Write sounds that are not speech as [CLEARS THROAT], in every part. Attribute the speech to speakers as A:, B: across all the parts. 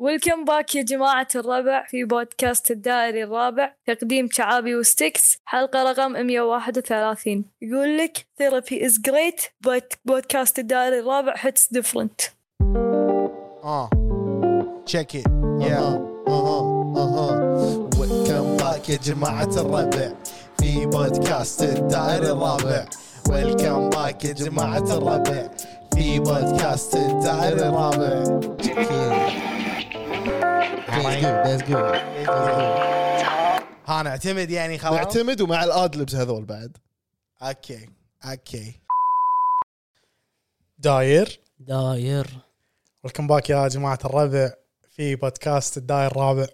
A: ويلكم باك يا جماعة الربع في بودكاست الدائري الرابع تقديم شعابي وستكس حلقة رقم 131 يقول لك ثيرابي از جريت but بودكاست الدائري الرابع hits different
B: Uh, check it. Yeah.
C: اها اها اها ويلكم باك يا جماعة الربع في بودكاست الدائري الرابع ويلكم باك يا جماعة الربع في بودكاست الدائري الرابع That's good. That's good.
B: ها نعتمد يعني خلاص
C: معتمد ومع الادلبس هذول بعد
B: اوكي اوكي داير
D: داير
B: ولكم باك يا جماعة الربع في بودكاست الداير الرابع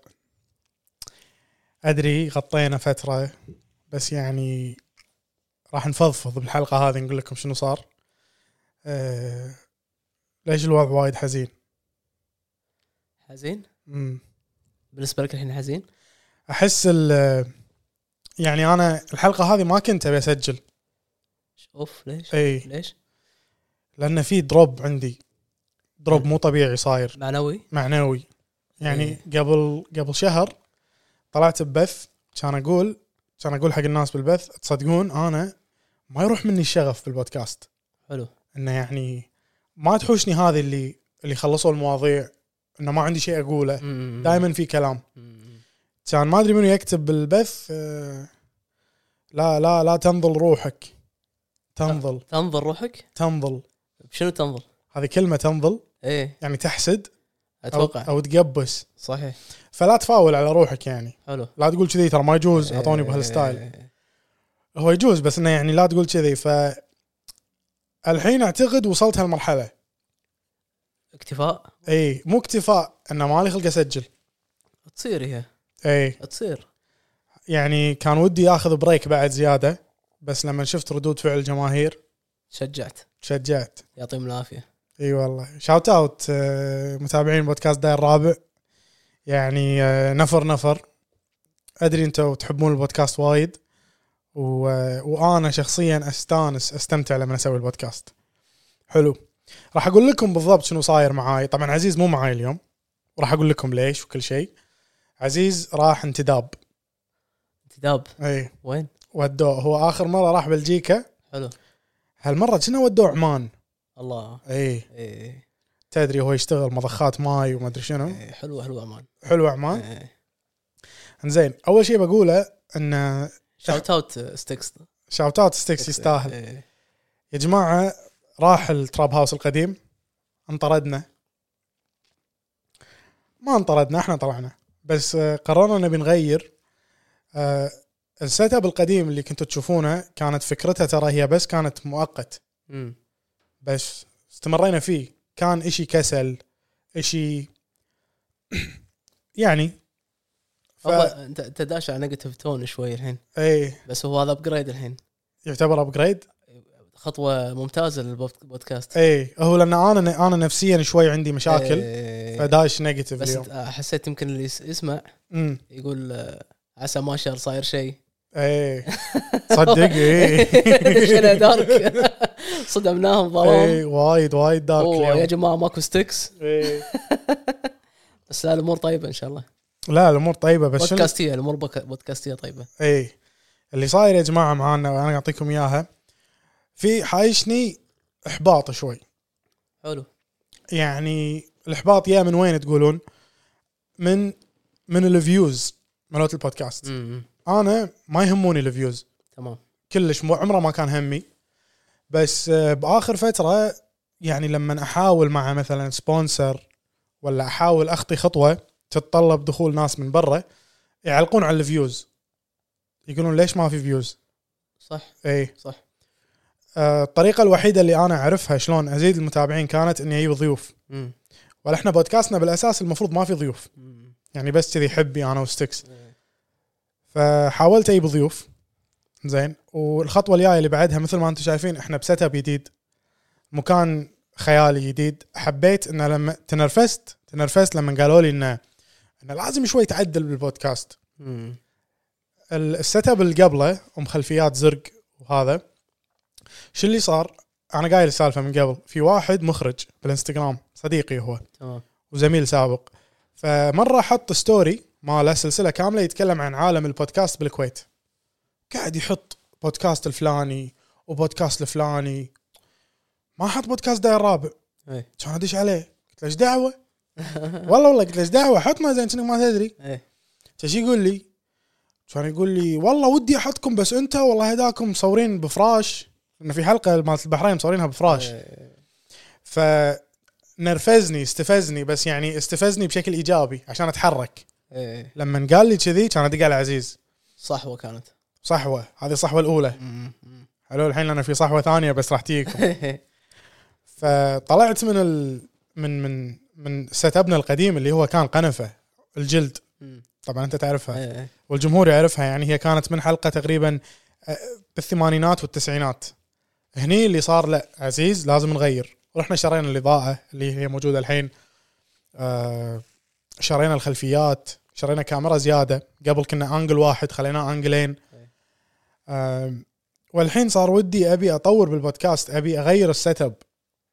B: ادري غطينا فترة بس يعني راح نفضفض بالحلقة هذه نقول لكم شنو صار أه... ليش الوضع وايد حزين
D: حزين
B: مم.
D: بالنسبه لك الحين حزين
B: احس ال يعني انا الحلقه هذه ما كنت ابي اسجل
D: شوف ليش
B: اي
D: ليش
B: لان في دروب عندي دروب مو طبيعي صاير
D: معنوي
B: معنوي يعني
D: إيه.
B: قبل قبل شهر طلعت ببث كان اقول كان اقول حق الناس بالبث تصدقون انا ما يروح مني الشغف بالبودكاست
D: حلو
B: انه يعني ما تحوشني هذه اللي اللي خلصوا المواضيع انه ما عندي شيء اقوله
D: مم.
B: دائما في كلام
D: مم.
B: كان ما ادري منو يكتب بالبث آه، لا لا لا تنظل روحك تنظل
D: تنظر روحك
B: تنظل
D: بشنو تنظر
B: هذه كلمه تنظل
D: ايه
B: يعني تحسد او,
D: اتوقع
B: أو تقبس
D: صحيح
B: فلا تفاول على روحك يعني
D: حلو
B: لا تقول كذي ترى ما يجوز اعطوني بهالستايل
D: إيه.
B: هو يجوز بس انه يعني لا تقول كذي ف الحين اعتقد وصلت هالمرحله
D: اكتفاء
B: اي مو اكتفاء انه مالي خلق اسجل
D: تصير هي
B: اي
D: تصير
B: يعني كان ودي اخذ بريك بعد زياده بس لما شفت ردود فعل الجماهير
D: شجعت
B: تشجعت
D: يعطيهم العافيه
B: اي والله شاوت اوت آه، متابعين بودكاست داير الرابع يعني آه، نفر نفر ادري انتم تحبون البودكاست وايد و... آه، وانا شخصيا استانس استمتع لما اسوي البودكاست حلو راح اقول لكم بالضبط شنو صاير معاي طبعا عزيز مو معاي اليوم وراح اقول لكم ليش وكل شيء عزيز راح انتداب
D: انتداب
B: اي
D: وين
B: ودوه هو اخر مره راح بلجيكا
D: حلو
B: هالمره كنا ودوه عمان
D: الله
B: اي
D: ايه
B: تدري هو يشتغل مضخات ماي وما ادري شنو
D: إيه. حلوه حلوه امان
B: حلو عمان
D: إيه.
B: زين اول شيء بقوله ان
D: شاوت اوت ستكس
B: شاوت اوت ستيكس يستاهل
D: إيه.
B: يا جماعه راح التراب هاوس القديم انطردنا ما انطردنا احنا طلعنا بس آه، قررنا نبي نغير آه، السيت اب القديم اللي كنتوا تشوفونه كانت فكرتها ترى هي بس كانت مؤقت
D: مم.
B: بس استمرينا فيه كان اشي كسل اشي [CLEARS THROAT] يعني ف...
D: والله انت انت داش على نيجاتيف تون شوي الحين
B: ايه
D: بس هو هذا ابجريد الحين
B: يعتبر ابجريد
D: خطوه ممتازه للبودكاست
B: اي إيه، هو لان انا انا نفسيا شوي عندي مشاكل
D: إيه.
B: فداش نيجاتيف
D: بس
B: اليوم
D: أنت- حسيت يمكن اللي يس- يسمع
B: امم
D: يقول آه، عسى ما شر صاير شيء [LAUGHS]
B: اي إيه. صدق إيه. اي
D: شنو دارك [LAUGHS] صدمناهم ظلام
B: اي وايد وايد إيه، دارك
D: أوه، يا
B: اليوم إيه.
D: جماعه ماكو ستكس
B: إي.
D: بس لا الامور طيبه ان شاء الله
B: لا الامور طيبه بس شنو
D: بودكاستيه الامور بك- بودكاستيه طيبه
B: اي اللي صاير يا جماعه معانا وانا اعطيكم اياها في حايشني احباط شوي
D: حلو
B: يعني الاحباط يا من وين تقولون؟ من من الفيوز مالت البودكاست
D: مم.
B: انا ما يهموني الفيوز
D: تمام
B: كلش مو عمره ما كان همي بس آه، باخر فتره يعني لما احاول مع مثلا سبونسر ولا احاول اخطي خطوه تتطلب دخول ناس من برا يعلقون على الفيوز يقولون ليش ما في فيوز
D: صح
B: اي
D: صح
B: آه، الطريقه الوحيده اللي انا اعرفها شلون ازيد المتابعين كانت اني اجيب ضيوف
D: مم.
B: ولا احنا بودكاستنا بالاساس المفروض ما في ضيوف
D: مم.
B: يعني بس كذي حبي انا وستكس
D: إيه.
B: فحاولت اجيب ضيوف زين والخطوه الجايه اللي بعدها مثل ما انتم شايفين احنا بسيت اب جديد مكان خيالي جديد حبيت انه لما تنرفزت تنرفزت لما قالوا لي انه انه لازم شوي تعدل بالبودكاست
D: مم.
B: ال- السيت اب اللي قبله ومخلفيات زرق وهذا شو اللي صار؟ انا قايل السالفه من قبل في واحد مخرج بالانستغرام صديقي هو
D: تمام
B: وزميل سابق فمره حط ستوري ماله سلسله كامله يتكلم عن عالم البودكاست بالكويت قاعد يحط بودكاست الفلاني وبودكاست الفلاني ما حط بودكاست داير الرابع
D: ايه
B: كان ادش عليه قلت له ايش دعوه؟ والله والله قلت له ايش دعوه حط ما زين كأنك ما تدري
D: ايه
B: فش يقول لي كان يقول لي والله ودي احطكم بس انت والله هداكم مصورين بفراش انه في حلقه مالت البحرين مصورينها بفراش
D: إيه.
B: فنرفزني استفزني بس يعني استفزني بشكل ايجابي عشان اتحرك
D: ايه لما
B: لما قال لي كذي كان ادق على عزيز
D: صحوه [LAUGHS] كانت
B: صحوه هذه الصحوه الاولى حلو الحين انا في صحوه ثانيه بس راح تجيكم
D: إيه،
B: فطلعت من ال... من من من سيت ابنا القديم اللي هو كان قنفه الجلد
D: مم.
B: طبعا انت تعرفها
D: إيه.
B: والجمهور يعرفها يعني هي كانت من حلقه تقريبا آه، بالثمانينات والتسعينات هني اللي صار لا عزيز لازم نغير رحنا شرينا الاضاءه اللي هي موجوده الحين آه، شرينا الخلفيات شرينا كاميرا زياده قبل كنا انجل واحد خليناه انجلين آه، والحين صار ودي ابي اطور بالبودكاست ابي اغير السيت اب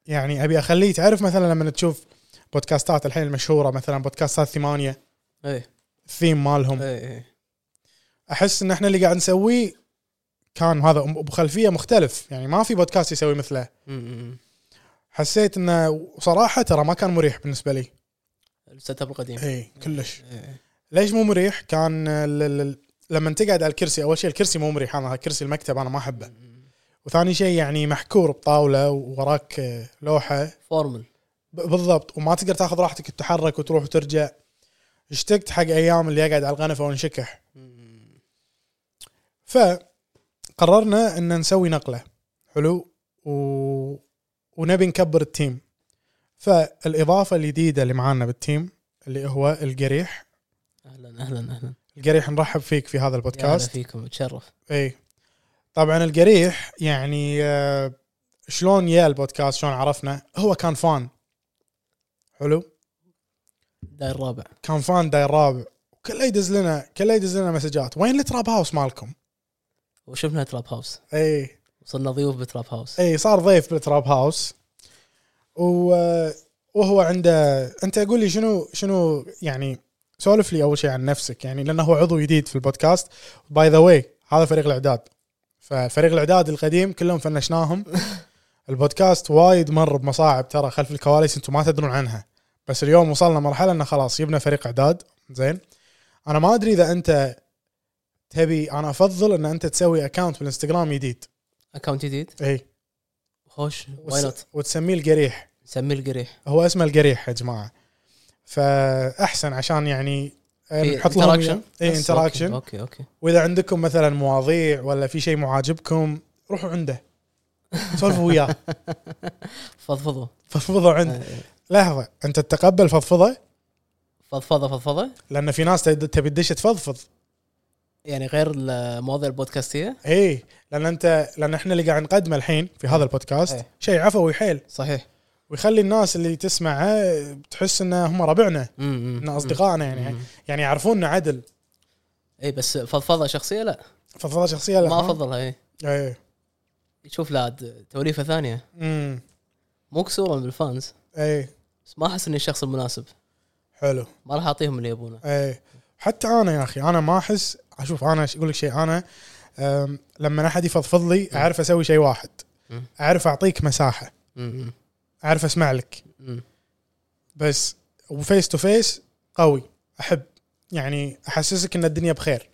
B: يعني ابي اخليه تعرف مثلا لما تشوف بودكاستات الحين المشهوره مثلا بودكاستات ثمانيه
D: ايه
B: الثيم مالهم
D: ايه
B: احس ان احنا اللي قاعد نسويه كان هذا بخلفيه مختلف يعني ما في بودكاست يسوي مثله
D: مم.
B: حسيت انه صراحه ترى ما كان مريح بالنسبه لي
D: السيت اب القديم
B: اي كلش
D: إيه.
B: ليش مو مريح كان ال- ال- ال- لما تقعد على الكرسي اول شيء الكرسي مو مريح انا كرسي المكتب انا ما احبه
D: مم.
B: وثاني شيء يعني محكور بطاوله ووراك آه، لوحه
D: فورمال
B: ب- بالضبط وما تقدر تاخذ راحتك تتحرك وتروح وترجع اشتقت حق ايام اللي اقعد على الغنفه وانشكح
D: مم.
B: فقررنا ان نسوي نقله حلو و... ونبي نكبر التيم فالاضافه الجديده اللي معانا بالتيم اللي هو القريح
D: اهلا اهلا اهلا
B: القريح نرحب فيك في هذا
D: يا هلا
B: البودكاست
D: فيكم تشرف
B: اي طبعا القريح يعني آه، شلون يا البودكاست شلون عرفنا هو كان فان حلو
D: داير الرابع
B: كان فان داير رابع كله يدز لنا كله يدز لنا مسجات وين التراب هاوس مالكم إيه.
D: وشفنا تراب هاوس
B: اي
D: وصلنا ضيوف بتراب هاوس
B: اي إيه، صار ضيف بالتراب هاوس و... آه، وهو عنده انت قول لي شنو شنو يعني سولف لي اول شيء عن نفسك يعني لانه هو عضو جديد في البودكاست باي ذا واي هذا فريق الاعداد ففريق الاعداد القديم كلهم فنشناهم البودكاست وايد مر بمصاعب ترى خلف الكواليس انتم ما تدرون عنها بس اليوم وصلنا مرحله انه خلاص جبنا فريق اعداد زين انا ما ادري اذا انت تبي انا افضل ان انت تسوي اكونت بالانستغرام جديد إيه.
D: اكونت جديد
B: اي
D: خوش واي
B: وتس...
D: نوت
B: وتسميه القريح
D: نسميه القريح
B: هو اسمه القريح يا جماعه فاحسن عشان يعني آه،
D: في
B: نحط لهم
D: interaction.
B: إياه. إيه، اي
D: بس، أوكي،
B: انتراكشن
D: اوكي اوكي
B: واذا عندكم مثلا مواضيع ولا في شيء معاجبكم روحوا عنده
D: [LAUGHS]
B: سولفوا وياه
D: فضفضوا
B: فضفضوا عنده
D: آه،
B: لحظه انت تتقبل فضفضه
D: فضفضه فضفضه
B: لان في ناس تد- تبي تدش تفضفض
D: يعني غير المواضيع البودكاستيه
B: اي لان انت لان احنا اللي قاعد نقدمه الحين في هذا البودكاست
D: إيه.
B: شيء عفوي حيل
D: صحيح
B: ويخلي الناس اللي تسمعه تحس ان هم ربعنا ان اصدقائنا يعني يعني يعرفوننا عدل
D: اي إيه، بس فضفضه شخصيه لا
B: فضفضه شخصيه لا
D: ما
B: ها؟
D: افضلها اي
B: ايه
D: شوف لا عاد توليفه ثانيه
B: امم
D: مو كسورا بالفانز
B: ايه
D: بس ما احس اني الشخص المناسب
B: حلو
D: ما راح اعطيهم اللي يبونه
B: ايه حتى انا يا اخي انا ما احس اشوف انا ش- اقول لك شيء انا أم، لما احد يفضفض لي اعرف اسوي شيء واحد
D: مم.
B: اعرف اعطيك مساحه
D: مم.
B: اعرف اسمع لك
D: مم.
B: بس وفيس تو فيس قوي احب يعني احسسك ان الدنيا بخير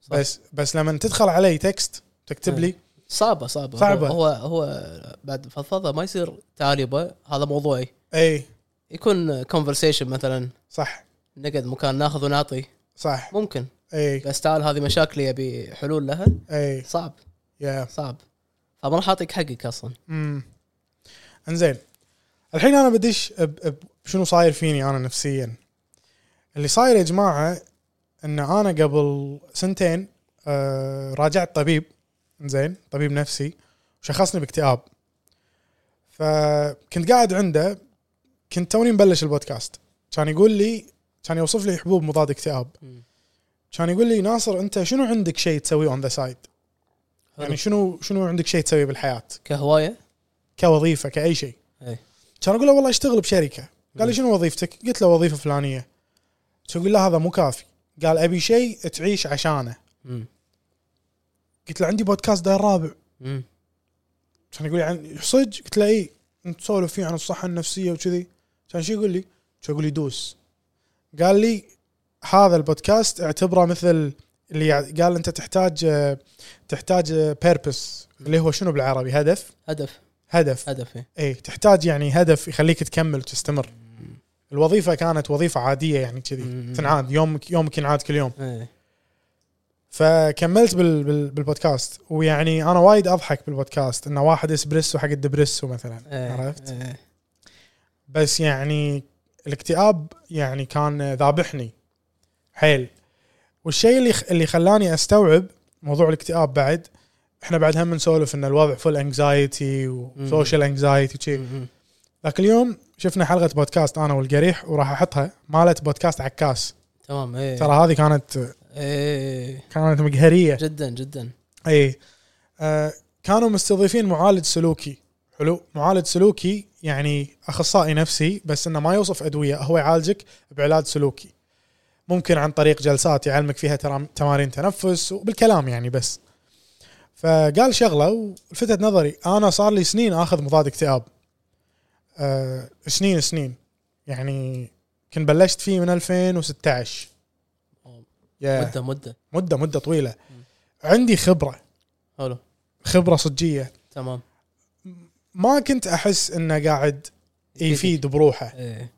D: صح.
B: بس بس لما تدخل علي تكست تكتب لي
D: صعبه صعبه
B: صعبة.
D: هو هو بعد فضفضه ما يصير تعاليبه هذا موضوعي
B: اي
D: يكون كونفرسيشن مثلا
B: إيه، صح
D: نقعد مكان ناخذ ونعطي
B: صح إيه،
D: ممكن
B: اي
D: بس تعال هذه مشاكلي ابي حلول لها
B: اي
D: صعب
B: إيه، يا
D: صعب فما راح اعطيك حقك اصلا
B: امم انزين الحين انا بدش ب- ب- بشنو صاير فيني انا نفسيا اللي صاير يا جماعه ان انا قبل سنتين آه راجعت طبيب زين طبيب نفسي وشخصني باكتئاب فكنت قاعد عنده كنت توني مبلش البودكاست كان يقول لي كان يوصف لي حبوب مضاد اكتئاب
D: مم.
B: كان يقول لي ناصر انت شنو عندك شيء تسويه اون ذا سايد يعني
D: حلو.
B: شنو شنو عندك شيء تسويه بالحياه
D: كهوايه
B: كوظيفه كاي شيء
D: اي
B: كان اقول له والله اشتغل بشركه قال لي
D: مم.
B: شنو وظيفتك؟ قلت له وظيفه فلانيه شو اقول له هذا مو كافي قال ابي شيء تعيش عشانه
D: مم.
B: قلت له عندي بودكاست داير رابع
D: مم.
B: كان يقول لي عن صدق قلت له اي انت تسولف فيه عن الصحه النفسيه وكذي كان شو يقول لي؟ شو اقول لي دوس قال لي هذا البودكاست اعتبره مثل اللي يع- قال انت تحتاج آه، تحتاج بيربس اللي هو شنو بالعربي هدف
D: هدف
B: هدف
D: هدف إيه.
B: اي تحتاج يعني هدف يخليك تكمل وتستمر الوظيفه كانت وظيفه عاديه يعني كذي
D: مم.
B: تنعاد يومك يومك ينعاد كل يوم
D: ايه
B: فكملت بال بال بالبودكاست ويعني انا وايد اضحك بالبودكاست انه واحد اسبريسو حق الدبريسو مثلا
D: إيه.
B: عرفت
D: إيه.
B: بس يعني الاكتئاب يعني كان ذابحني حيل والشيء اللي اللي خلاني استوعب موضوع الاكتئاب بعد احنا بعد هم نسولف ان الوضع فول انكزايتي وسوشيال انكزايتي وشي
D: مم.
B: ذاك اليوم شفنا حلقه بودكاست انا والقريح وراح احطها مالت بودكاست عكاس
D: تمام ايه
B: ترى هذه كانت
D: ايه
B: كانت مقهريه
D: جدا جدا
B: اي إيه. آه كانوا مستضيفين معالج سلوكي حلو معالج سلوكي يعني اخصائي نفسي بس انه ما يوصف ادويه هو يعالجك بعلاج سلوكي ممكن عن طريق جلسات يعلمك فيها ترام- تمارين تنفس وبالكلام يعني بس فقال شغله ولفتت نظري انا صار لي سنين اخذ مضاد اكتئاب آه سنين سنين يعني كنت بلشت فيه من 2016 يا
D: مده مده
B: مده مده طويله عندي خبره
D: حلو
B: خبره صجيه
D: تمام
B: ما كنت احس انه قاعد يفيد بروحه
D: ايه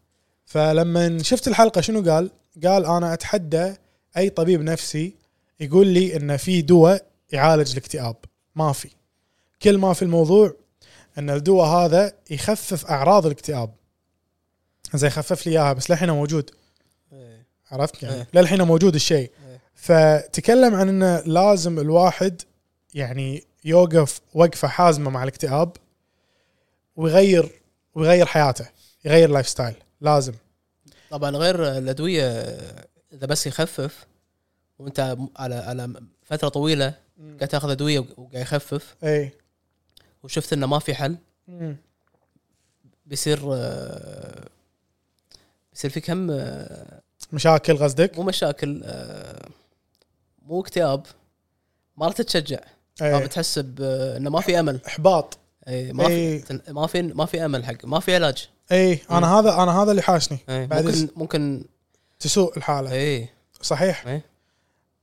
B: فلما شفت الحلقه شنو قال؟ قال انا اتحدى اي طبيب نفسي يقول لي ان في دواء يعالج الاكتئاب ما في كل ما في الموضوع ان الدواء هذا يخفف اعراض الاكتئاب زي خفف لي اياها بس للحين موجود
D: إيه.
B: عرفت يعني
D: إيه.
B: للحين موجود الشيء
D: إيه.
B: فتكلم عن انه لازم الواحد يعني يوقف وقفه حازمه مع الاكتئاب ويغير ويغير حياته يغير لايف ستايل لازم
D: طبعا غير الادويه اذا بس يخفف وانت م- على على فتره طويله قاعد تاخذ ادويه وق- وقاعد يخفف
B: اي
D: وشفت انه ما في حل بيصير آه، بيصير في كم آه،
B: مشاكل قصدك
D: مو مشاكل آه، مو اكتئاب ما راح تتشجع ما
B: اي
D: بتحس ب- انه ما في امل
B: احباط
D: اي ما
B: إيه.
D: في تن- ما في ما في امل حق ما في علاج
B: اي
D: مم.
B: انا هذا انا هذا اللي حاشني
D: إيه.
B: بعد
D: ممكن ممكن
B: تسوء الحاله
D: اي
B: صحيح
D: إيه.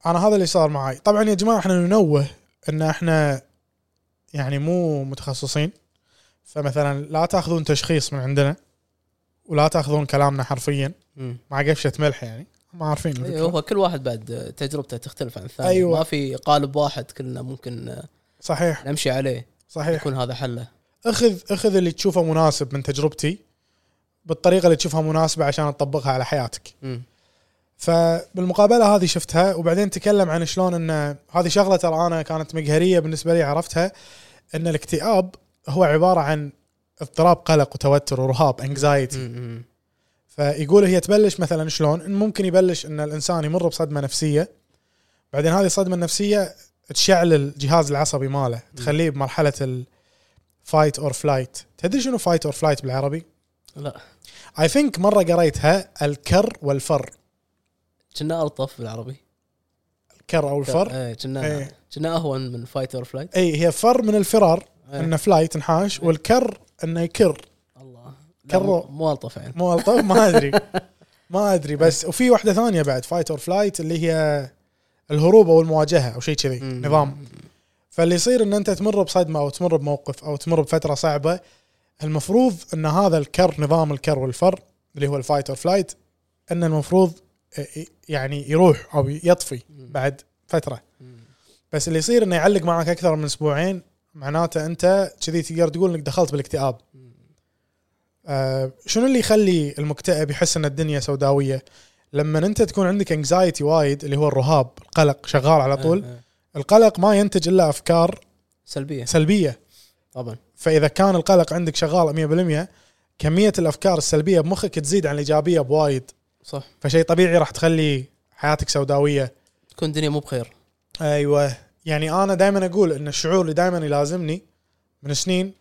B: انا هذا اللي صار معي طبعا يا جماعه احنا ننوه ان احنا يعني مو متخصصين فمثلا لا تاخذون تشخيص من عندنا ولا تاخذون كلامنا حرفيا مع قفشه ملح يعني ما عارفين
D: إيه،
B: الفكرة.
D: هو كل واحد بعد تجربته تختلف عن الثاني
B: أيوة.
D: أيوة. ما في قالب واحد كلنا ممكن آه،
B: صحيح
D: نمشي عليه
B: صحيح
D: يكون هذا حله
B: اخذ اخذ اللي تشوفه مناسب من تجربتي بالطريقه اللي تشوفها مناسبه عشان تطبقها على حياتك
D: مم.
B: فبالمقابله هذه شفتها وبعدين تكلم عن شلون ان هذه شغله ترى انا كانت مقهريه بالنسبه لي عرفتها ان الاكتئاب هو عباره عن اضطراب قلق وتوتر ورهاب انكزايتي
D: مم، مم.
B: فيقول هي تبلش مثلا شلون إن ممكن يبلش ان الانسان يمر بصدمه نفسيه بعدين هذه الصدمه النفسيه تشعل الجهاز العصبي ماله تخليه بمرحله الفايت اور فلايت تدري شنو فايت اور فلايت بالعربي
D: لا
B: اي ثينك مره قريتها الكر والفر
D: كنا الطف بالعربي
B: الكر او الفر
D: ايه كنا
B: إيه.
D: كنا اهون من فايت اور فلايت
B: اي هي فر من الفرار
D: إيه.
B: انه فلايت نحاش والكر انه يكر
D: الله لا،
B: كرو.
D: مو- مو الطف يعني
B: مو الطف ما ادري ما ادري بس وفي واحده ثانيه بعد فايت اور فلايت اللي هي الهروب او المواجهه او شيء كذي
D: مم.
B: نظام فاللي يصير ان انت تمر بصدمه او تمر بموقف او تمر بفتره صعبه المفروض ان هذا الكر نظام الكر والفر اللي هو الفايت اور فلايت ان المفروض يعني يروح او يطفي بعد فتره
D: مم.
B: بس اللي يصير انه يعلق معك اكثر من اسبوعين معناته انت كذي تقدر تقول انك دخلت بالاكتئاب. آه شنو اللي يخلي المكتئب يحس ان الدنيا سوداويه؟ لما انت تكون عندك انكزايتي وايد اللي هو الرهاب، القلق شغال على طول،
D: إيه، إيه.
B: القلق ما ينتج الا افكار
D: سلبيه
B: سلبيه،
D: طبعا
B: فاذا كان القلق عندك شغال 100% كميه الافكار السلبيه بمخك تزيد عن الايجابيه بوايد،
D: صح
B: فشيء طبيعي راح تخلي حياتك سوداويه.
D: تكون الدنيا مو بخير
B: ايوه يعني انا دائما اقول ان الشعور اللي دائما يلازمني من سنين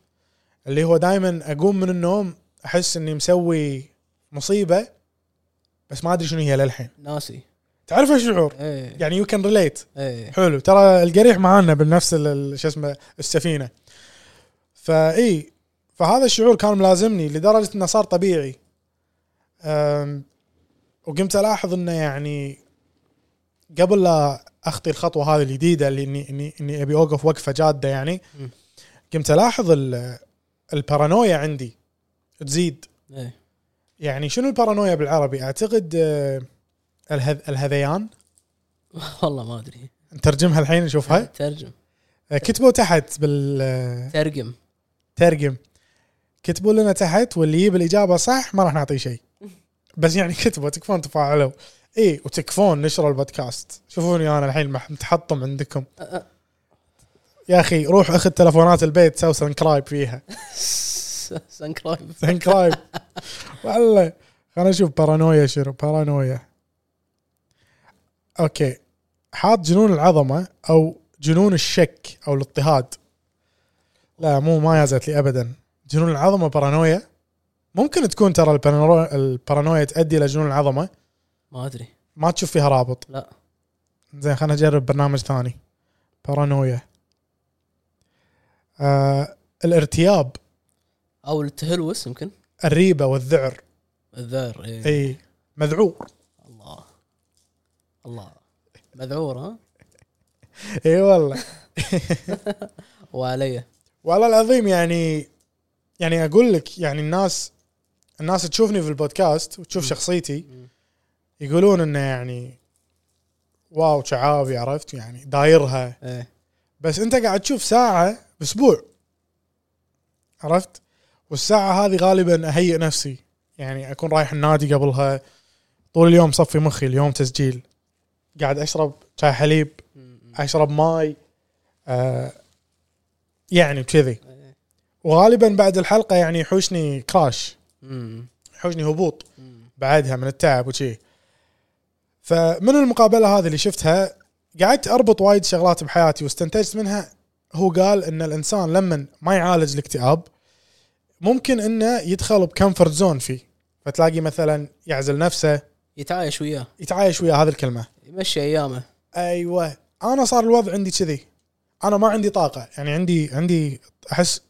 B: اللي هو دائما اقوم من النوم احس اني مسوي مصيبه بس ما ادري شنو هي للحين
D: ناسي
B: تعرف الشعور
D: ايه
B: يعني يو كان ريليت
D: ايه
B: حلو ترى القريح معانا بنفس ال- ال- شو اسمه السفينه فاي فهذا الشعور كان ملازمني لدرجه انه صار طبيعي أم، وقمت الاحظ انه يعني قبل لا اخطي الخطوه هذه الجديده اللي اني اني اني ابي اوقف وقفه جاده يعني
D: م.
B: قمت الاحظ ال- البارانويا عندي تزيد
D: ايه
B: يعني شنو البارانويا بالعربي اعتقد آه، الهذ- الهذيان
D: [LAUGHS] والله ما ادري
B: نترجمها الحين نشوفها
D: ترجم
B: كتبوا تحت بالترجم
D: ترجم [LAUGHS]
B: كتبوا لنا تحت واللي يجيب الاجابه صح ما راح نعطيه شيء بس يعني كتبوا تكفون تفاعلوا اي وتكفون نشروا البودكاست شوفوني انا الحين مح- متحطم عندكم يا اخي روح اخذ تلفونات البيت سوي سنكرايب فيها
D: سانكرايب
B: سنكرايب والله خلينا نشوف بارانويا شنو بارانويا اوكي حاط جنون العظمه او جنون الشك او الاضطهاد لا مو ما يازت لي ابدا جنون العظمه بارانويا ممكن تكون ترى البارانو- البارانويا تؤدي الى جنون العظمه
D: ما ادري
B: ما تشوف فيها رابط
D: لا
B: زين خلنا نجرب برنامج ثاني بارانويا آه الارتياب
D: او التهلوس يمكن
B: الريبه والذعر
D: الذار ايه
B: اي مذعور
D: الله الله مذعور ها
B: اي إيه والله
D: وعلي
B: والله العظيم يعني يعني اقول لك يعني الناس الناس تشوفني في البودكاست وتشوف شخصيتي يقولون انه يعني واو شعابي عرفت يعني دايرها
D: ايه
B: بس انت قاعد تشوف ساعه باسبوع عرفت والساعه هذه غالبا اهيئ نفسي يعني اكون رايح النادي قبلها طول اليوم صفي مخي اليوم تسجيل قاعد اشرب شاي حليب اشرب ماي آه يعني كذي
D: إيه.
B: وغالبا بعد الحلقه يعني يحوشني كراش
D: أمم.
B: يحوشني هبوط
D: أمم.
B: بعدها من التعب وشي فمن المقابله هذه اللي شفتها قعدت اربط وايد شغلات بحياتي واستنتجت منها هو قال ان الانسان لما ما يعالج الاكتئاب ممكن انه يدخل بكمفرت زون فيه فتلاقي مثلا يعزل نفسه
D: يتعايش وياه
B: يتعايش ويا هذه الكلمه
D: يمشي ايامه
B: ايوه انا صار الوضع عندي كذي انا ما عندي طاقه يعني عندي عندي احس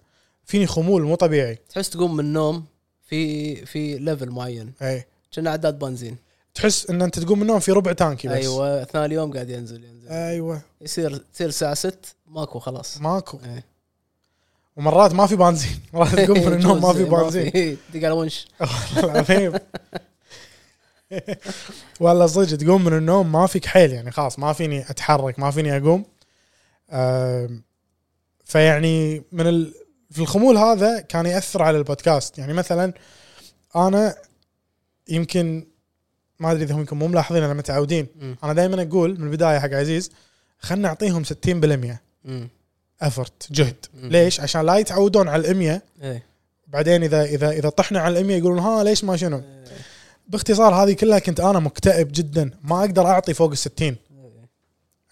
B: فيني خمول مو طبيعي
D: تحس تقوم من النوم في في ليفل معين
B: اي
D: كنا عداد بنزين
B: تحس ان انت تقوم من النوم في ربع تانكي بس
D: ايوه اثناء اليوم قاعد ينزل ينزل
B: ايوه
D: يصير تصير الساعه 6 ماكو خلاص
B: ماكو
D: إيه.
B: ومرات ما في بنزين [LAUGHS] مرات [LAUGHS] تقوم من النوم
D: [LAUGHS]
B: ما في
D: إيه،
B: بنزين [LAUGHS]
D: دق على ونش
B: والله العظيم [LAUGHS] والله صدق تقوم من النوم ما فيك حيل يعني خلاص ما فيني اتحرك ما فيني اقوم أم، فيعني من ال... في الخمول هذا كان ياثر على البودكاست يعني مثلا انا يمكن ما ادري اذا هم يمكن مو ملاحظين انا متعودين
D: مم.
B: انا دائما اقول من البدايه حق عزيز خلينا نعطيهم 60%
D: أمم.
B: افرت جهد
D: مم.
B: ليش عشان لا يتعودون على ال100
D: ايه
B: بعدين اذا اذا اذا طحنا على ال100 يقولون ها ليش ما شنو
D: إيه.
B: باختصار هذه كلها كنت انا مكتئب جدا ما اقدر اعطي فوق ال 60
D: إيه.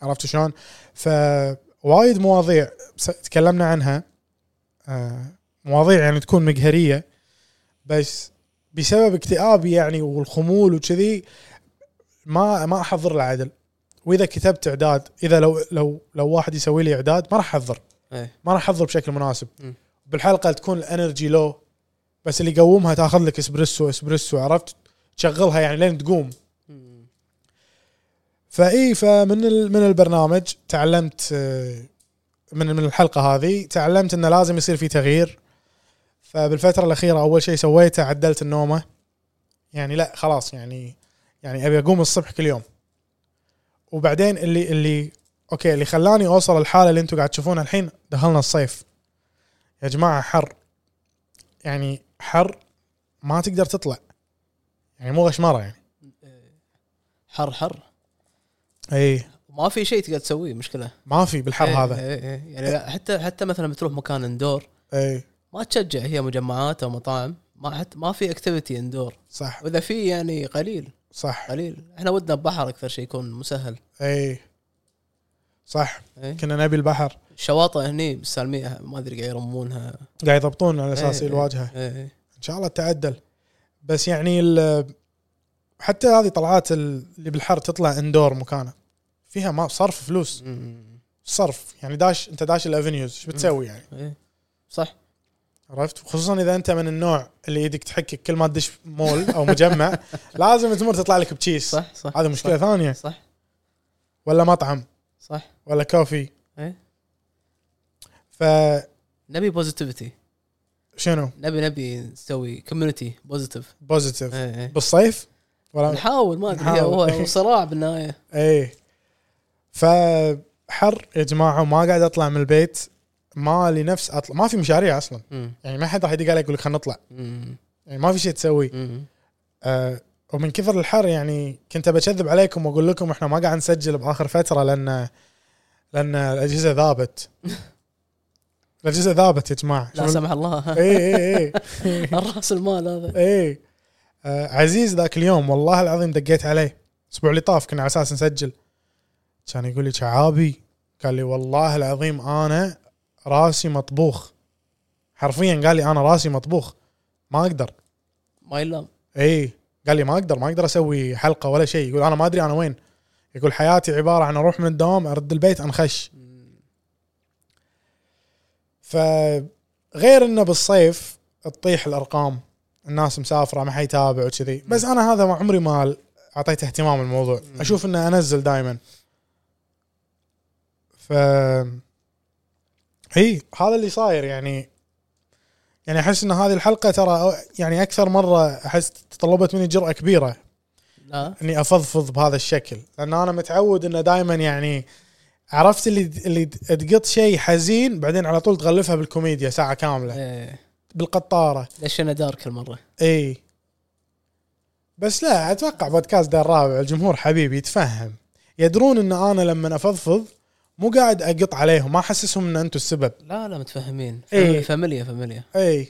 B: عرفت شلون؟ فوايد مواضيع س- تكلمنا عنها آه، مواضيع يعني تكون مقهريه بس بسبب اكتئابي يعني والخمول وكذي ما ما احضر العدل واذا كتبت اعداد اذا لو لو لو واحد يسوي لي اعداد ما راح احضر
D: إيه.
B: ما راح احضر بشكل مناسب
D: م.
B: بالحلقه تكون الانرجي لو بس اللي يقومها تاخذ لك اسبريسو اسبريسو عرفت تشغلها يعني لين تقوم
D: أمم.
B: فاي فمن ال- من البرنامج تعلمت آه، من من الحلقه هذه تعلمت انه لازم يصير في تغيير فبالفتره الاخيره اول شيء سويته عدلت النومه يعني لا خلاص يعني يعني ابي اقوم الصبح كل يوم وبعدين اللي اللي اوكي اللي خلاني اوصل الحاله اللي انتم قاعد تشوفونها الحين دخلنا الصيف يا جماعه حر يعني حر ما تقدر تطلع يعني مو غشمره يعني
D: حر حر
B: اي
D: ما في شيء تقدر تسويه مشكله
B: ما في بالحر
D: إيه،
B: هذا
D: إيه، إيه. يعني لا، حتى حتى مثلا بتروح مكان اندور
B: اي
D: ما تشجع هي مجمعات او مطاعم ما حتى ما في اكتيفيتي اندور
B: صح
D: واذا في يعني قليل
B: صح
D: قليل احنا ودنا بحر اكثر شيء يكون مسهل
B: اي إيه. صح
D: إيه.
B: كنا نبي البحر
D: الشواطئ هني سالميها ما ادري قاعد يرمونها
B: قاعد يضبطون على
D: إيه،
B: اساس
D: إيه،
B: الواجهه
D: إيه، إيه.
B: ان شاء الله تعدل بس يعني ال- حتى هذه طلعات ال- اللي بالحر تطلع اندور مكانه فيها ما صرف فلوس
D: مم.
B: صرف يعني داش انت داش الافنيوز ايش بتسوي يعني
D: إيه. صح
B: عرفت خصوصا اذا انت من النوع اللي يدك تحكك كل ما تدش مول
D: [LAUGHS]
B: او مجمع لازم تمر تطلع لك بتشيس
D: صح صح
B: هذه مشكله
D: صح
B: ثانيه
D: صح
B: ولا مطعم
D: صح
B: ولا كوفي
D: إيه.
B: فشنو
D: نبي بوزيتيفيتي نبي نبي نسوي كوميونتي بوزيتيف
B: بوزيتيف
D: إيه.
B: بالصيف ولا
D: نحاول ما ادري
B: نحاول.
D: هو هو صراع بالنهايه
B: ايه فحر يا جماعه وما قاعد اطلع من البيت ما لي نفس اطلع ما في مشاريع اصلا
D: مم.
B: يعني ما حد راح يدق عليك يقول لك خلينا نطلع
D: [LAUGHS] مم.
B: يعني ما في شيء تسوي
D: مم.
B: آه ومن كثر الحر يعني كنت بكذب عليكم واقول لكم احنا ما قاعد نسجل باخر فتره لان لان الاجهزه
D: [LAUGHS]
B: ذابت الاجهزه ذابت يا إيه، جماعه
D: لا سمح الله [LAUGHS]
B: اي اي اي
D: الراس المال هذا
B: ايه آه عزيز ذاك اليوم والله العظيم دقيت عليه الاسبوع اللي طاف كنا على اساس نسجل كان يقول لي شعابي قال لي والله العظيم انا راسي مطبوخ حرفيا قال لي انا راسي مطبوخ ما اقدر
D: ما يلام
B: اي إيه. قال لي ما اقدر ما اقدر اسوي حلقه ولا شيء يقول انا ما ادري انا وين يقول حياتي عباره عن اروح من الدوام ارد البيت انخش فغير انه بالصيف تطيح الارقام الناس مسافره ما حيتابع وكذي بس انا هذا ما عمري ما اعطيت اهتمام الموضوع اشوف انه انزل دائما ف هي هذا اللي صاير يعني يعني احس ان هذه الحلقه ترى أو- يعني اكثر مره احس تطلبت مني جرأه كبيره
D: لا
B: اني افضفض بهذا الشكل لان انا متعود انه دائما يعني عرفت اللي اللي تقط شيء حزين بعدين على طول تغلفها بالكوميديا ساعه كامله
D: إيه.
B: بالقطاره
D: ليش انا دارك المره
B: اي إيه. بس لا اتوقع بودكاست دار الرابع الجمهور حبيبي يتفهم يدرون ان انا لما افضفض مو قاعد اقط عليهم ما احسسهم ان انتم السبب
D: لا لا متفهمين
B: إيه.
D: فاميليا فاميليا
B: اي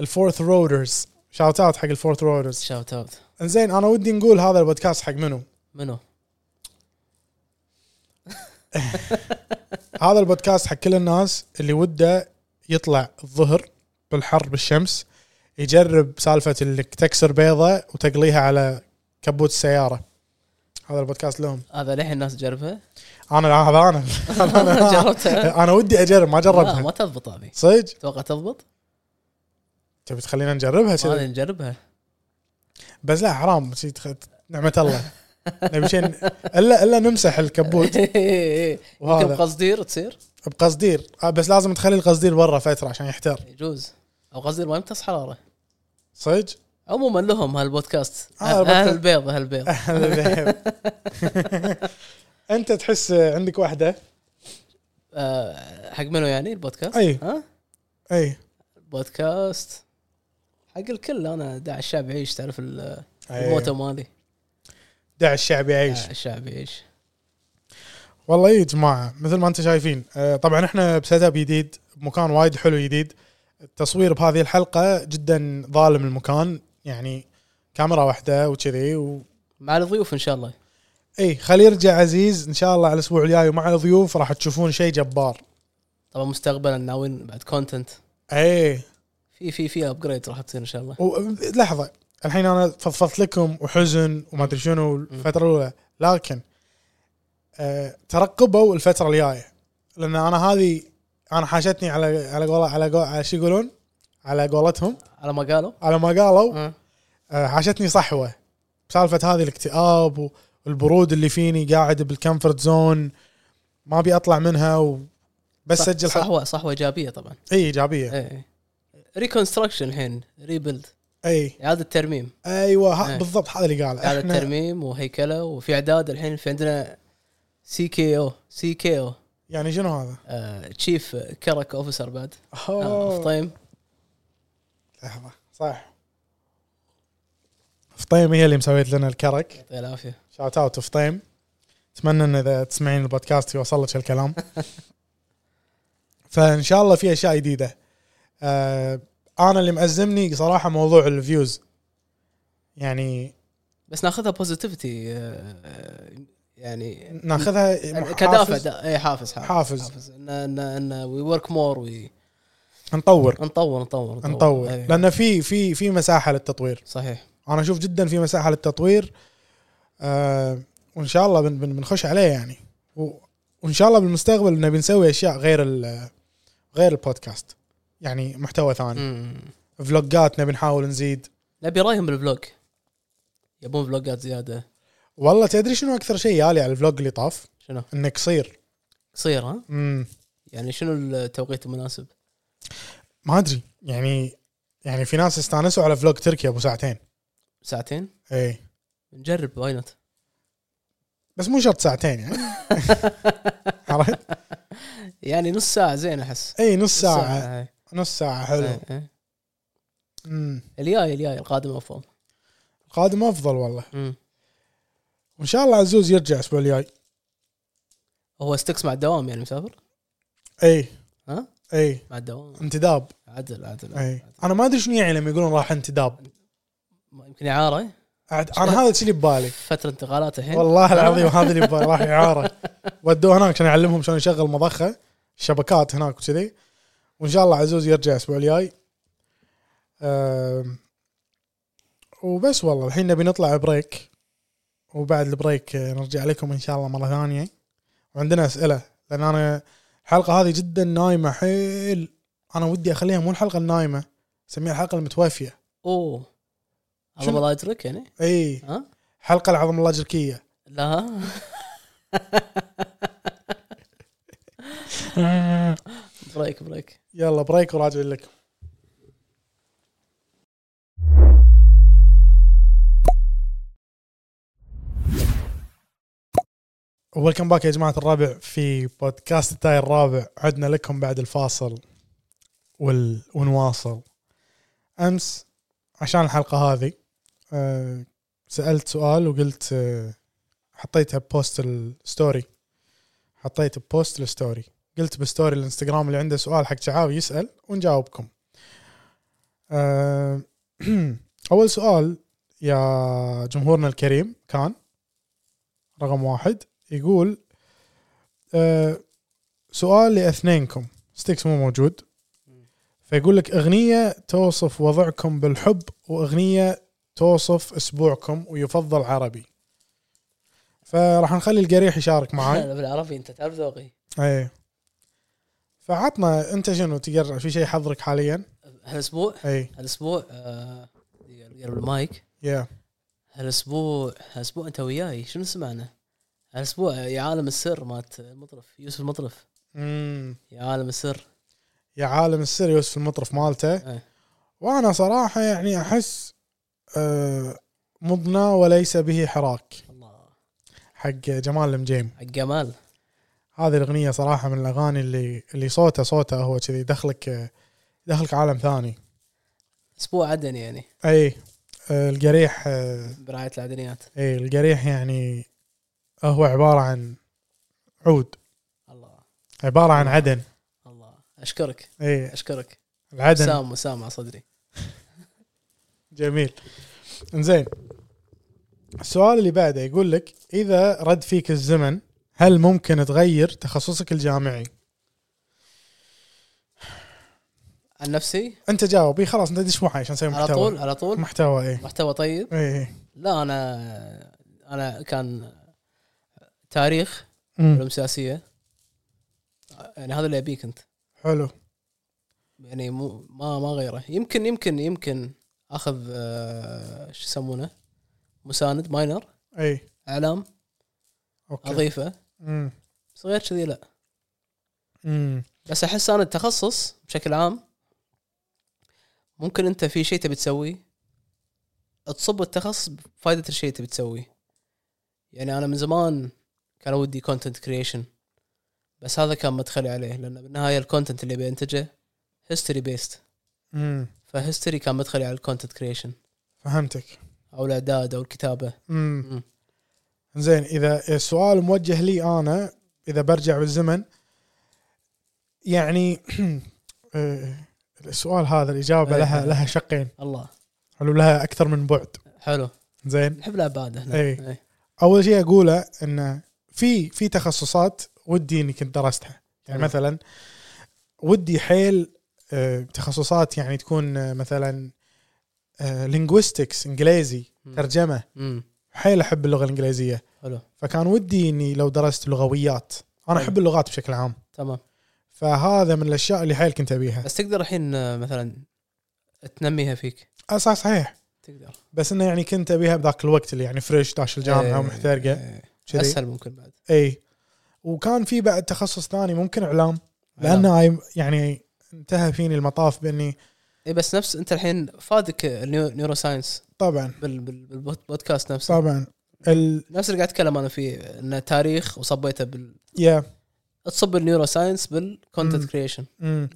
B: الفورث رودرز شاوت اوت حق الفورث رودرز
D: شاوت اوت
B: انزين انا ودي نقول هذا البودكاست حق منو
D: منو؟
B: هذا البودكاست حق كل الناس اللي وده يطلع الظهر بالحر بالشمس يجرب سالفه انك تكسر بيضه وتقليها على كبوت السياره هذا البودكاست لهم
D: هذا للحين الناس [LAUGHS] تجربها؟
B: انا لا، هذا
D: [LAUGHS]
B: انا انا
D: جربتها؟
B: انا ودي اجرب ما
D: لا
B: جربها
D: ما تضبط هذه
B: صدق
D: اتوقع تضبط؟
B: تبي تخلينا نجربها
D: ما
B: كذي
D: أدري نجربها [LAUGHS]
B: بس لا حرام شي تخ- نعمه
D: [LAUGHS]
B: الله نبي شيء الا الا نمسح الكبوت
D: إيه، كم
B: وهذا
D: قصدير تصير؟
B: بقصدير آه، بس لازم تخلي القصدير برا فتره عشان يحتر
D: يجوز او قصدير ما يمتص حراره
B: صدق
D: عموما لهم هالبودكاست
B: آه،
D: اهل
B: البودكاست.
D: البيض اهل البيض
B: انت تحس عندك واحده
D: آه، حق منو يعني البودكاست؟
B: أي.
D: ها؟
B: اي
D: البودكاست حق الكل انا داع الشعب يعيش تعرف ال-
B: أي.
D: الموتو مالي
B: دع إيه. الشعب يعيش
D: داع الشعب يعيش
B: والله إيه يا جماعه مثل ما انتم شايفين آه، طبعا احنا بسيت اب جديد بمكان وايد حلو جديد التصوير بهذه الحلقه جدا ظالم المكان يعني كاميرا واحده وكذي و...
D: مع الضيوف ان شاء الله
B: اي خلي يرجع عزيز ان شاء الله على الاسبوع الجاي ومع الضيوف راح تشوفون شيء جبار
D: طبعا مستقبلا ناويين بعد كونتنت
B: اي
D: في في في ابجريد راح تصير ان شاء الله
B: و... لحظه الحين انا فضفضت لكم وحزن وما ادري شنو الفتره الاولى لكن آه ترقبوا الفتره الجايه لان انا هذه انا حاشتني على على قول على قول على شو يقولون على قولتهم
D: على ما قالوا
B: على ما قالوا
D: ها.
B: آه حاشتني صحوه سالفه هذه الاكتئاب والبرود اللي فيني قاعد بالكمفرت زون ما ابي اطلع منها و... بس
D: صح-
B: سجل حلقه
D: صحوه صحوه ايجابيه طبعا
B: اي ايجابيه
D: اي ريكونستراكشن إيه. الحين ريبلد
B: اي
D: اعاده ترميم
B: ايوه ها
D: إيه.
B: بالضبط هذا اللي قاله
D: اعاده
B: إحنا-
D: ترميم وهيكله وفي اعداد الحين في عندنا سي كي او سي كي او
B: يعني شنو هذا؟
D: تشيف كرك اوفيسر بعد آه، طيب. اوف
B: أوه.
D: تايم
B: لحظة صح فطيم هي اللي مسويت لنا الكرك
D: يعطيه العافيه
B: شاوت اوت فطيم اتمنى ان اذا تسمعين البودكاست يوصل
D: [LAUGHS]
B: لك الكلام فان شاء الله في اشياء جديده آه انا اللي مأزمني صراحه موضوع الفيوز يعني
D: بس ناخذها بوزيتيفيتي يعني
B: ناخذها
D: كدافع
B: حافز،
D: دا- اي حافز حافز,
B: حافز.
D: حافز. ان ان ان وي ورك مور
B: نطور
D: نطور أيوة. نطور
B: نطور
D: أي.
B: لان في في في مساحه للتطوير
D: صحيح
B: انا اشوف جدا في مساحه للتطوير آه وان شاء الله بن بن بنخش عليه يعني و- وان شاء الله بالمستقبل نبي نسوي اشياء غير ال- غير البودكاست يعني محتوى ثاني
D: مم.
B: فلوجات نبي نحاول نزيد
D: نبي رايهم بالفلوج يبون فلوجات زياده
B: والله تدري شنو اكثر شيء يالي على الفلوج اللي طاف
D: شنو؟
B: انه قصير
D: قصير ها؟
B: امم
D: يعني شنو التوقيت المناسب؟
B: ما ادري يعني يعني في ناس استانسوا على فلوج تركيا ابو ساعتين
D: ساعتين؟
B: اي
D: نجرب واي نوت
B: بس مو شرط
D: [LAUGHS]
B: ساعتين يعني عرفت؟
D: يعني نص ساعه زين احس
B: اي نص
D: نص إيه.
B: ساعه
D: هاي.
B: نص ساعه حلو
D: هاي- هاي.
B: امم
D: إيه. الجاي الجاي القادم افضل
B: قادم افضل والله
D: مم.
B: وان شاء الله عزوز يرجع الاسبوع الجاي
D: هو ستكس مع الدوام يعني مسافر؟
B: اي
D: ها؟
B: اي
D: مع الدوام
B: انتداب
D: عدل عدل,
B: اي
D: عدل.
B: انا ما ادري شنو يعني لما يقولون راح انتداب
D: ما- يمكن إيه؟ اعاره
B: أعد- انا هذا الشيء اللي ببالي
D: فتره انتقالات الحين
B: والله العظيم هذا اللي ببالي راح اعاره ودوه هناك عشان اعلمهم شلون يشغل مضخه شبكات هناك وكذي وان شاء الله عزوز يرجع الاسبوع الجاي أم، وبس والله الحين نبي نطلع بريك وبعد البريك أه، نرجع لكم ان شاء الله مره ثانيه وعندنا اسئله لان انا الحلقه هذه جدا نايمه حيل انا ودي اخليها مو الحلقه النايمه اسميها الحلقه المتوافيه
D: اوه
B: شنو؟
D: عظم الله يترك يعني
B: اي
D: ها؟
B: حلقه إيه. العظم الله جركيه
D: لا [LAUGHS] بريك بريك
B: يلا بريك وراجع لكم ويلكم باك يا جماعة الرابع في بودكاست التاي الرابع عدنا لكم بعد الفاصل وال... ونواصل أمس عشان الحلقة هذه آه، سألت سؤال وقلت آه، حطيتها ببوست الستوري حطيت ببوست الستوري قلت بستوري الانستغرام اللي عنده سؤال حق شعاوي يسأل ونجاوبكم آه، [CLEARS THROAT] أول سؤال يا جمهورنا الكريم كان رقم واحد يقول آه، سؤال لأثنينكم ستيكس مو موجود فيقول لك أغنية توصف وضعكم بالحب وأغنية توصف أسبوعكم ويفضل عربي فراح نخلي القريح يشارك معاي
D: لا بالعربي انت تعرف ذوقي
B: ايه فعطنا انت شنو تقرا في شيء حضرك حاليا؟
D: هالاسبوع
B: اي
D: هالاسبوع آه، قرب المايك
B: إيه، يا
D: هالاسبوع هالاسبوع انت وياي شنو سمعنا؟ هالاسبوع يا عالم السر مالت المطرف يوسف المطرف
B: امم
D: يا عالم السر
B: يا عالم السر يوسف المطرف مالته
D: إيه.
B: وانا صراحه يعني احس آه، مضنى وليس به حراك
D: الله
B: حق جمال المجيم
D: حق جمال
B: هذه الاغنيه صراحه من الاغاني اللي اللي صوته صوته هو كذي دخلك آه، دخلك عالم ثاني
D: اسبوع عدن يعني
B: اي آه، القريح آه،
D: برعايه العدنيات
B: اي القريح يعني هو عباره عن عود
D: الله
B: عباره عن عدن إيه،
D: الله اشكرك
B: اي
D: اشكرك
B: العدن
D: سام وسام على صدري
B: جميل انزين السؤال اللي بعده يقول لك اذا رد فيك الزمن هل ممكن تغير تخصصك الجامعي؟
D: عن نفسي
B: انت جاوب إي خلاص انت دش معي عشان نسوي محتوى
D: على طول على طول
B: محتوى إيه. اي
D: محتوى طيب
B: اي
D: لا انا انا كان تاريخ
B: أمم،
D: علوم سياسيه يعني هذا اللي ابيه كنت
B: حلو
D: يعني مو ما ما غيره يمكن يمكن يمكن اخذ آه، شو يسمونه مساند ماينر
B: اي
D: اعلام
B: اوكي
D: اضيفه
B: أمم،
D: بس غير كذي لا
B: أمم،
D: بس احس انا التخصص بشكل عام ممكن انت في شيء تبي تسويه تصب التخصص بفائده الشيء اللي تبي تسويه يعني انا من زمان كان ودي كونتنت كريشن بس هذا كان مدخلي عليه لان بالنهايه الكونتنت اللي بينتجه هيستوري بيست
B: أمم،
D: فهيستوري كان مدخلي على الكونتنت كريشن
B: فهمتك
D: او الاعداد او الكتابه
B: امم
D: أمم.
B: زين اذا السؤال موجه لي انا اذا برجع بالزمن يعني [CLEARS THROAT] آه، السؤال هذا الاجابه
D: إيه.
B: لها لها شقين
D: الله
B: حلو لها اكثر من بعد
D: حلو
B: زين
D: نحب الابعاد احنا
B: إيه.
D: إيه.
B: اول شيء اقوله ان في في تخصصات ودي اني كنت درستها يعني
D: حلو.
B: مثلا ودي حيل آه، تخصصات يعني تكون آه، مثلا لينغويستكس انجليزي
D: مم.
B: ترجمه
D: امم
B: حيل احب اللغه الانجليزيه
D: حلو
B: فكان ودي اني لو درست لغويات انا
D: حلو.
B: احب اللغات بشكل عام
D: تمام
B: فهذا من الاشياء اللي حيل كنت ابيها
D: بس تقدر الحين آه، مثلا تنميها فيك
B: آه، صح صحيح
D: تقدر
B: بس انه يعني كنت ابيها بذاك الوقت اللي يعني فريش داش الجامعه
D: إيه،
B: ومحترقه
D: إيه.
B: كذي
D: اسهل ممكن بعد
B: اي وكان في بعد تخصص ثاني ممكن اعلام لان أي- يعني انتهى فيني المطاف باني
D: اي إيه، بس نفس انت الحين فادك النيو- نيورو ساينس
B: طبعا
D: بال- بال- بالبودكاست نفسه
B: طبعا ال
D: نفس اللي قاعد اتكلم انا فيه انه تاريخ وصبيته بال
B: يا
D: تصب النيورو ساينس بالكونتنت
B: مم.
D: كريشن
B: مم.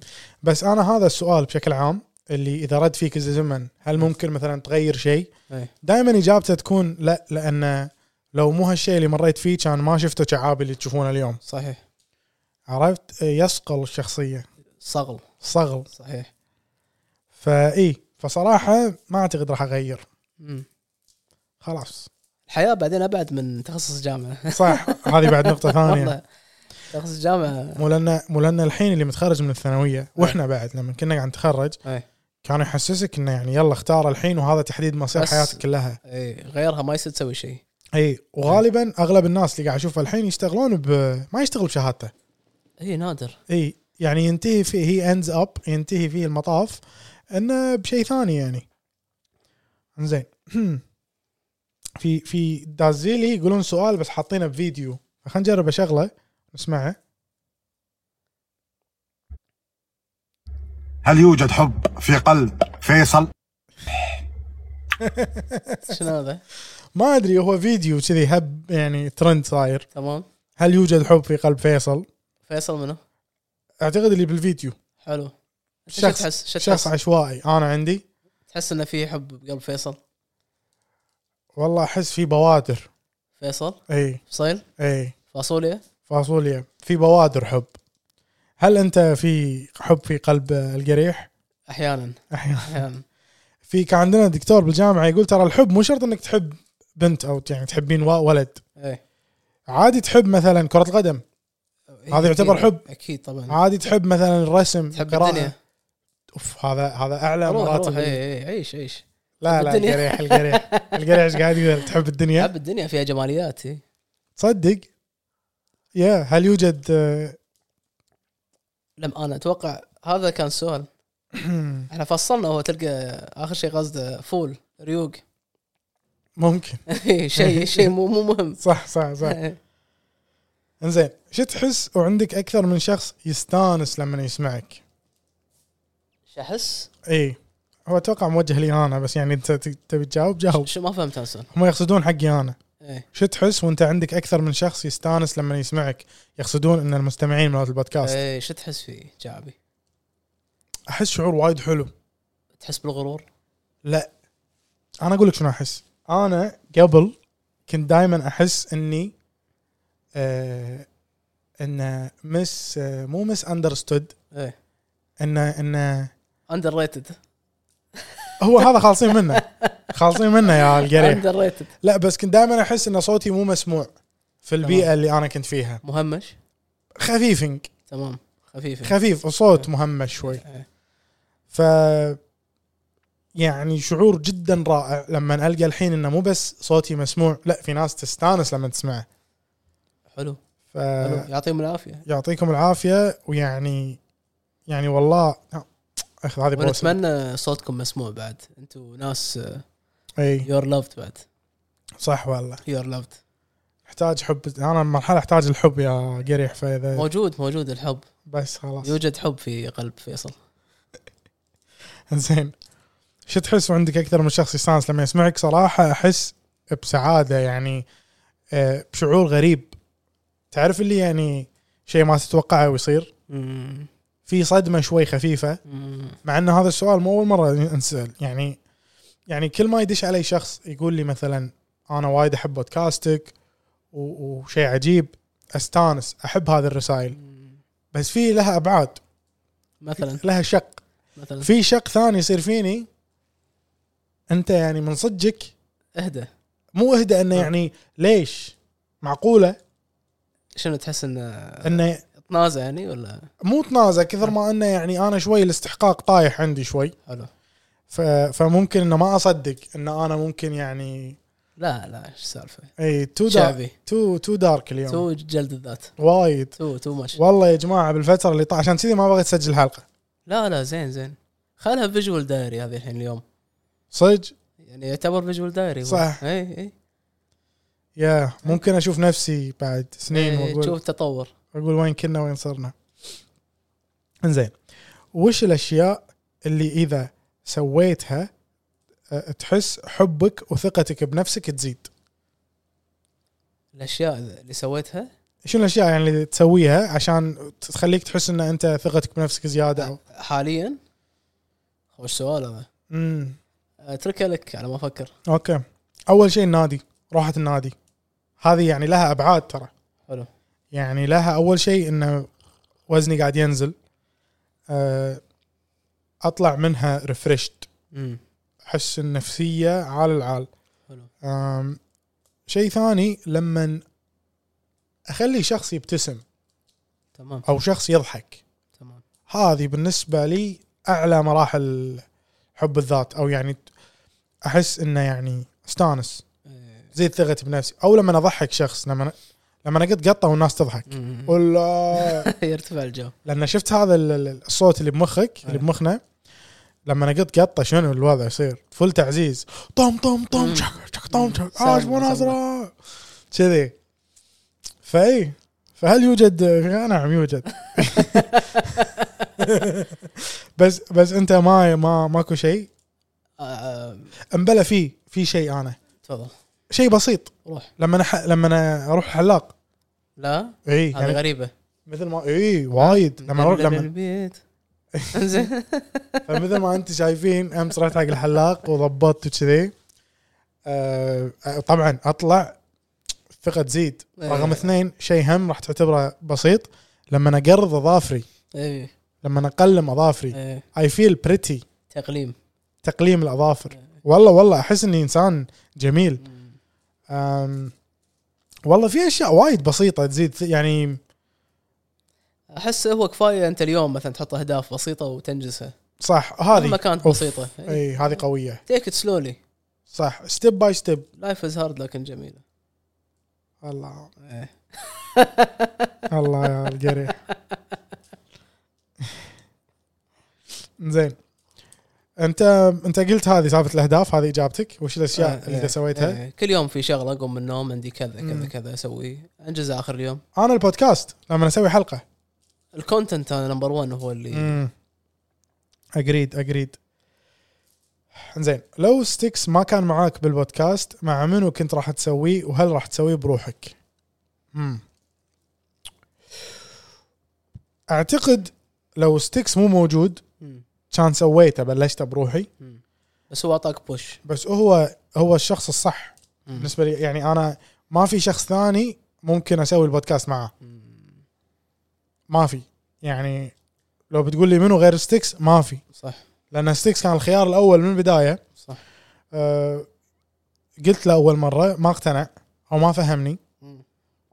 B: بس انا هذا السؤال بشكل عام اللي اذا رد فيك الزمن هل ممكن مثلا تغير شيء؟
D: إيه.
B: دائما اجابته تكون لا لان لو مو هالشيء اللي مريت فيه كان ما شفته كعابي اللي تشوفونه اليوم
D: صحيح
B: عرفت يصقل الشخصيه
D: صغل
B: صغل
D: صحيح
B: فاي فصراحه ما اعتقد راح اغير
D: مم.
B: خلاص
D: الحياه بعدين ابعد من تخصص
B: [LAUGHS]
D: جامعه
B: صح هذه
D: [LAUGHS]
B: بعد نقطه ثانيه
D: والله تخصص جامعه
B: مو لان مو لان الحين اللي متخرج من الثانويه واحنا بعد لما كنا قاعد نتخرج
D: إيه.
B: كانوا يحسسك انه يعني يلا اختار الحين وهذا تحديد مصير
D: بس-
B: حياتك كلها
D: اي إيه، غيرها ما يصير تسوي شيء
B: اي وغالبا اغلب الناس اللي قاعد اشوفها الحين يشتغلون ب ما يشتغل بشهادته
D: اي نادر
B: اي يعني ينتهي فيه هي اندز اب ينتهي فيه المطاف انه بشيء ثاني يعني زين [CLEARS THROAT] في في دازيلي يقولون سؤال بس حاطينه بفيديو خلينا نجرب اشغله نسمعه
E: هل يوجد حب في قلب فيصل؟
D: شنو هذا
B: ما ادري هو فيديو كذي هب يعني ترند صاير
D: تمام
B: هل يوجد حب في قلب فيصل؟
D: فيصل منه
B: اعتقد اللي بالفيديو
D: حلو أنت شو
B: شخص-
D: تحس شو
B: شخص
D: تحس
B: عشوائي انا عندي
D: تحس انه في حب بقلب فيصل
B: والله احس في بوادر
D: فيصل
B: اي
D: فصيل
B: اي
D: فاصوليا
B: فاصوليا في بوادر حب هل انت في حب في قلب القريح؟
D: احيانا
B: احيانا
D: [LAUGHS] احيانا
B: في كان عندنا دكتور بالجامعه يقول ترى الحب مو شرط انك تحب بنت او يعني تحبين و- ولد
D: اي
B: عادي تحب مثلا كره القدم هذا يعتبر
D: إيه، أكيد-
B: حب.
D: اكيد طبعا
B: عادي تحب مثلا الرسم
D: تحب
B: القراءة.
D: الدنيا
B: اوف هذا هذا اعلى
D: روح روح إيه،
B: مراتب
D: اي اي عيش عيش
B: إيه؟ لا
D: تحب
B: لا
D: الدنيا.
B: القريح القريح القريح ايش قاعد يقول تحب الدنيا
D: حب الدنيا فيها جماليات إيه. إي.
B: تصدق يا هل يوجد آه،
D: لم انا اتوقع هذا كان
B: [CLEARS THROAT]
D: السؤال احنا فصلنا هو تلقى اخر شيء قصده فول ريوق [LAUGHS]
B: ممكن
D: شيء شيء مو مو مهم
B: صح صح صح انزين شو تحس وعندك اكثر من شخص يستانس لما يسمعك
D: شو احس؟
B: اي هو اتوقع موجه لي انا بس يعني انت ت- تبي تجاوب جاوب
D: شو ما فهمت هالسؤال
B: هم يقصدون حقي انا
D: ايه
B: شو تحس وانت عندك اكثر من شخص يستانس لما يسمعك يقصدون ان المستمعين مال البودكاست
D: إيه، شو تحس فيه جعبي؟
B: احس شعور وايد حلو
D: تحس بالغرور؟
B: لا انا اقول لك شنو احس انا قبل كنت دائما احس اني آه ان مس آه مو مس اندرستود
D: ايه
B: ان ان
D: اندر ريتد
B: هو هذا خالصين منه خالصين منه يا القريح
D: اندر ريتد
B: لا بس كنت دائما احس ان صوتي مو مسموع في البيئه اللي انا كنت فيها
D: مهمش
B: خفيفنج
D: تمام خفيف
B: خفيف صوت مهمش شوي
D: إيه.
B: ف يعني شعور جدا رائع لما القى الحين انه مو بس صوتي مسموع لا في ناس تستانس لما تسمعه
D: حلو
B: ف
D: حلو يعطيهم العافيه
B: يعطيكم العافيه ويعني يعني والله اخذ هذه بوسه
D: ونتمنى صوتكم مسموع بعد انتم ناس
B: اي
D: يور لافد بعد
B: صح والله
D: يور لافد
B: احتاج حب انا مرحله احتاج الحب يا قريح فاذا
D: موجود موجود الحب
B: بس خلاص
D: يوجد حب في قلب فيصل
B: Mm. [LAUGHS] زين شو تحس وعندك اكثر من شخص يستانس لما يسمعك صراحه احس بسعاده يعني آه، بشعور غريب تعرف اللي يعني شيء ما تتوقعه ويصير
D: مم.
B: في صدمه شوي خفيفه
D: مم.
B: مع ان هذا السؤال مو اول مره انسال يعني يعني كل ما يدش علي شخص يقول لي مثلا انا وايد احب بودكاستك و- وشيء عجيب استانس احب هذه الرسائل بس في لها ابعاد [LAUGHS]
D: مثلا
B: لها شق
D: مثلا
B: في شق ثاني يصير فيني انت يعني من صدقك
D: اهدى
B: مو اهدى انه يعني ليش معقوله
D: شنو تحس انه
B: انه
D: تنازع يعني ولا
B: مو تنازع كثر ما انه يعني انا شوي الاستحقاق طايح عندي شوي
D: حلو
B: ف- ف... فممكن انه ما اصدق ان انا ممكن يعني إيه،
D: لا لا ايش السالفه
B: اي تو دارك
D: شعبي
B: تو تو دارك اليوم
D: تو جلد الذات
B: وايد
D: تو تو مش
B: والله يا جماعه بالفتره اللي طا عشان كذي ما بغيت اسجل حلقه
D: لا لا زين زين خلها فيجوال دايري هذه الحين اليوم
B: صدق
D: يعني يعتبر فيجوال دايري
B: صح.
D: اي اي
B: يا ممكن اشوف نفسي بعد سنين
D: إي،
B: واقول
D: تشوف تطور
B: اقول وين كنا وين صرنا انزين وش الاشياء اللي اذا سويتها أه، تحس حبك وثقتك بنفسك تزيد
D: الاشياء اللي سويتها
B: شنو الاشياء يعني اللي تسويها عشان تخليك تحس ان انت ثقتك بنفسك زياده
D: نعم.
B: او
D: حاليا خوش سؤال هذا
B: امم
D: اتركها لك على ما افكر
B: اوكي اول شيء النادي روحة النادي هذه يعني لها ابعاد ترى
D: حلو
B: يعني لها اول شيء انه وزني قاعد ينزل أه، اطلع منها ريفرشت
D: امم
B: احس النفسيه عال العال
D: حلو
B: أم، شيء ثاني لما اخلي شخص يبتسم
D: تمام
B: او شخص يضحك
D: تمام
B: هذه بالنسبه لي اعلى مراحل حب الذات او يعني احس انه يعني استانس
D: إيه.
B: زيد ثقتي بنفسي او لما اضحك شخص لما لما انا قد قطه والناس تضحك
D: أمم.
B: ولا
D: يرتفع الجو
B: لان شفت هذا ال- ال- الصوت اللي بمخك اللي
D: أيه.
B: بمخنا لما نقط قطه شنو الوضع يصير؟ فل تعزيز طم طم طم
D: مم.
B: شك شك طم شك
D: سلمى،
B: عاش مناظره كذي فاي فهل يوجد آه، نعم
D: [LAUGHS]
B: يوجد بس بس انت ما ما ماكو شيء
D: آه، آه،
B: امبلا في في شيء انا
D: تفضل
B: شيء بسيط
D: روح
B: لما أنا ح... لما أنا اروح حلاق
D: لا
B: اي
D: هذه
B: يعني
D: غريبه
B: مثل ما اي وايد لما اروح لما
D: البيت
B: [LAUGHS]
D: انزين
B: فمثل ما انتم شايفين امس رحت حق الحلاق وضبطت وكذي أه طبعا اطلع الثقه تزيد رقم
D: إيه.
B: اثنين شيء هم راح تعتبره بسيط لما انا اقرض اظافري
D: اي
B: لما انا اقلم اظافري
D: إي.
B: اي فيل بريتي
D: إيه، تقليم
B: تقليم الاظافر والله والله احس اني انسان جميل أم والله في اشياء وايد بسيطه تزيد يعني
D: احس هو كفايه انت اليوم مثلا تحط اهداف بسيطه وتنجزها
B: صح
D: مهما
B: هذه
D: كانت
B: أوف.
D: بسيطه
B: اي هذه قويه
D: تيك ات سلولي
B: صح ستيب باي ستيب
D: لايف از هارد لكن جميله
B: الله
D: إيه.
B: [LAUGHS] الله يا القريح زين انت انت قلت هذه سالفه الاهداف هذه اجابتك وش الاشياء
D: آه،
B: اللي
D: إيه.
B: انت سويتها؟
D: إيه. كل يوم في شغله اقوم من النوم عندي كذا كذا
B: مم.
D: كذا اسويه انجزها اخر اليوم
B: انا البودكاست لما اسوي حلقه
D: الكونتنت انا نمبر 1 هو اللي
B: اجريد اجريد زين لو ستيكس ما كان معاك بالبودكاست مع منو كنت راح تسويه وهل راح تسويه بروحك؟ امم اعتقد لو ستيكس مو موجود
D: مم.
B: كان سويته بلشته بروحي
D: مم. بس هو اعطاك بوش
B: بس هو هو الشخص الصح
D: مم.
B: بالنسبه لي يعني انا ما في شخص ثاني ممكن اسوي البودكاست معاه
D: مم.
B: ما في يعني لو بتقول لي منو غير ستيكس ما في
D: صح
B: لان ستيكس كان الخيار الاول من البدايه
D: صح
B: أه قلت له اول مره ما اقتنع او ما فهمني
D: مم.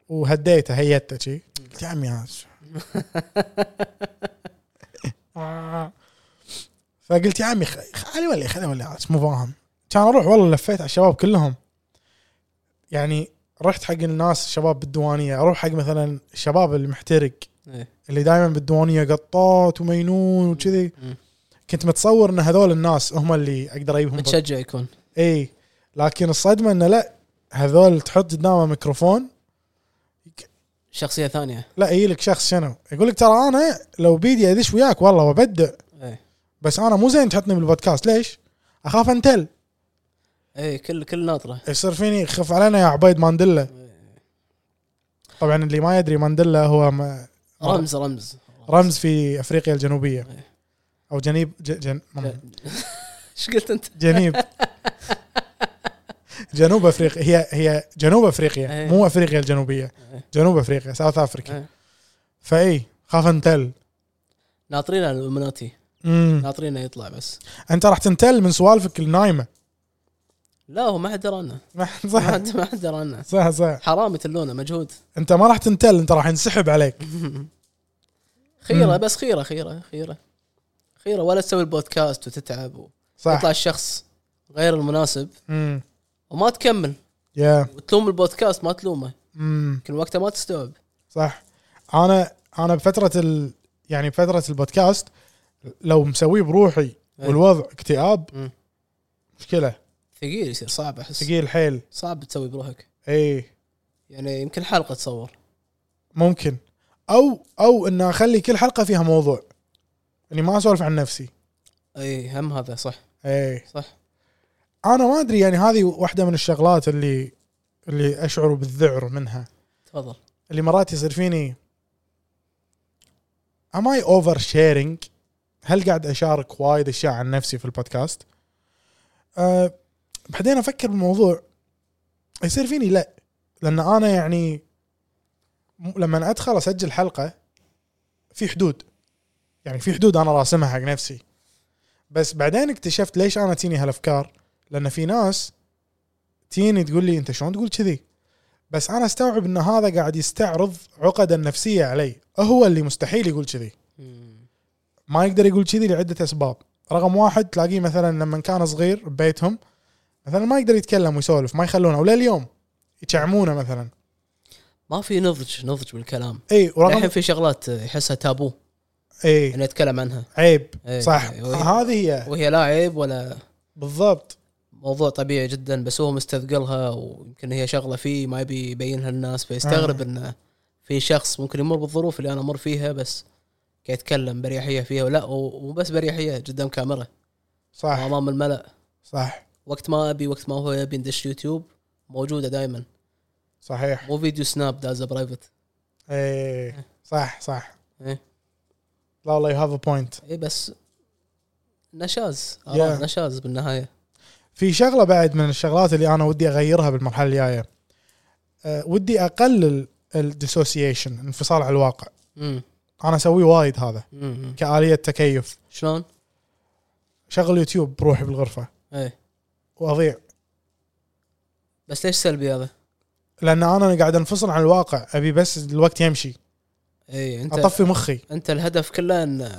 B: وهديته هيته شي قلت يا عمي هذا
D: [LAUGHS]
B: شو؟ آه. فقلت يا عمي خ- خلي ولا خلي ولا عاد مو فاهم كان اروح والله لفيت على الشباب كلهم يعني رحت حق الناس الشباب بالديوانيه اروح حق مثلا الشباب المحترق
D: إيه.
B: اللي دائما بالديوانيه قطات ومينون وكذي
D: مم.
B: كنت متصور ان هذول الناس هم اللي اقدر اجيبهم
D: متشجع يكون
B: اي إيه. لكن الصدمه انه لا هذول تحط قدامه ميكروفون
D: شخصيه ثانيه
B: لا يجي لك شخص شنو يقول لك ترى انا لو بيدي ادش وياك والله وابدع
D: اي
B: بس انا مو زين تحطني بالبودكاست ليش؟ اخاف انتل
D: اي إيه، كل كل ناطره
B: يصير فيني خف علينا يا عبيد مانديلا طبعا اللي ما يدري مانديلا هو م-
D: رمز رمز
B: رمز في افريقيا الجنوبيه
D: إيه.
B: او جنيب ج- جن مم.
D: ايش قلت انت؟
B: جنيب جنوب افريقيا هي هي جنوب افريقيا
D: إيه.
B: مو افريقيا الجنوبيه
D: إيه.
B: جنوب افريقيا ساوث افريكا
D: إيه.
B: فاي خاف انتل
D: ناطرين على الالومناتي
B: امم
D: ناطرينه يطلع بس
B: انت راح تنتل من سوالفك النايمه
D: لا هو ما حد درى عنه ما
B: [LAUGHS] صح
D: حد ما حد درى عنه
B: صح صح
D: حرام يتلونه مجهود
B: انت ما راح تنتل انت راح ينسحب عليك
D: خيره
B: مم.
D: بس خيره خيره خيره خيره ولا تسوي البودكاست وتتعب و...
B: صح
D: يطلع الشخص غير المناسب
B: امم
D: وما تكمل
B: يا
D: وتلوم البودكاست ما تلومه
B: امم
D: يمكن وقتها ما تستوعب
B: صح انا انا بفتره ال... يعني بفتره البودكاست لو مسويه بروحي والوضع
D: إيه. مم.
B: اكتئاب مشكله
D: ثقيل يصير صعب احس
B: ثقيل حيل إيه.
D: صعب تسوي بروحك
B: اي
D: يعني يمكن حلقه تصور
B: ممكن او او ان اخلي كل حلقه فيها موضوع اني ما اسولف عن نفسي
D: اي هم هذا صح
B: اي
D: صح
B: انا ما ادري يعني هذه واحده من الشغلات اللي اللي اشعر بالذعر منها
D: تفضل
B: اللي مرات يصير فيني am I over sharing هل قاعد اشارك وايد اشياء عن نفسي في البودكاست أه بعدين افكر بالموضوع يصير فيني لا لان انا يعني م- لما ادخل اسجل حلقه في حدود يعني في حدود انا راسمها حق نفسي بس بعدين اكتشفت ليش انا تيني هالافكار لان في ناس تيني تقول لي انت شلون تقول كذي بس انا استوعب ان هذا قاعد يستعرض عقدا نفسيه علي هو اللي مستحيل يقول كذي
D: مم.
B: ما يقدر يقول كذي لعده اسباب رقم واحد تلاقيه مثلا لما كان صغير ببيتهم مثلا ما يقدر يتكلم ويسولف ما يخلونه ولليوم يشعمونه مثلا
D: ما في نضج نضج بالكلام
B: اي
D: الحين
B: ورقم
D: في شغلات يحسها تابو
B: اي
D: انه يتكلم عنها
B: عيب
D: إيه،
B: صح
D: إيه، وهي-
B: هذه هي
D: وهي لا عيب ولا
B: بالضبط
D: موضوع طبيعي جدا بس هو مستثقلها ويمكن هي شغله فيه ما يبي يبينها للناس فيستغرب
B: آه.
D: انه في شخص ممكن يمر بالظروف اللي انا امر فيها بس قاعد يتكلم بريحيه فيها ولا و- وبس بريحيه قدام كاميرا
B: صح
D: امام الملا
B: صح
D: وقت ما ابي وقت ما هو يبي ندش يوتيوب موجوده دائما
B: صحيح
D: مو فيديو سناب دازا برايفت
B: اي صح صح
D: إيه.
B: لا والله يو هاف ا بوينت
D: اي إيه، بس نشاز آراء
B: Yeah.
D: نشاز بالنهايه
B: في شغله بعد من الشغلات اللي انا ودي اغيرها بالمرحله الجايه أه، ودي اقلل الديسوسيشن انفصال عن الواقع
D: امم
B: انا اسويه وايد هذا
D: امم
B: كاليه تكيف
D: شلون؟
B: شغل يوتيوب بروحي بالغرفه
D: اي
B: واضيع
D: إيه. بس ليش سلبي هذا؟
B: لان انا قاعد انفصل عن الواقع ابي بس الوقت يمشي
D: اي انت
B: اطفي مخي
D: انت الهدف كله ان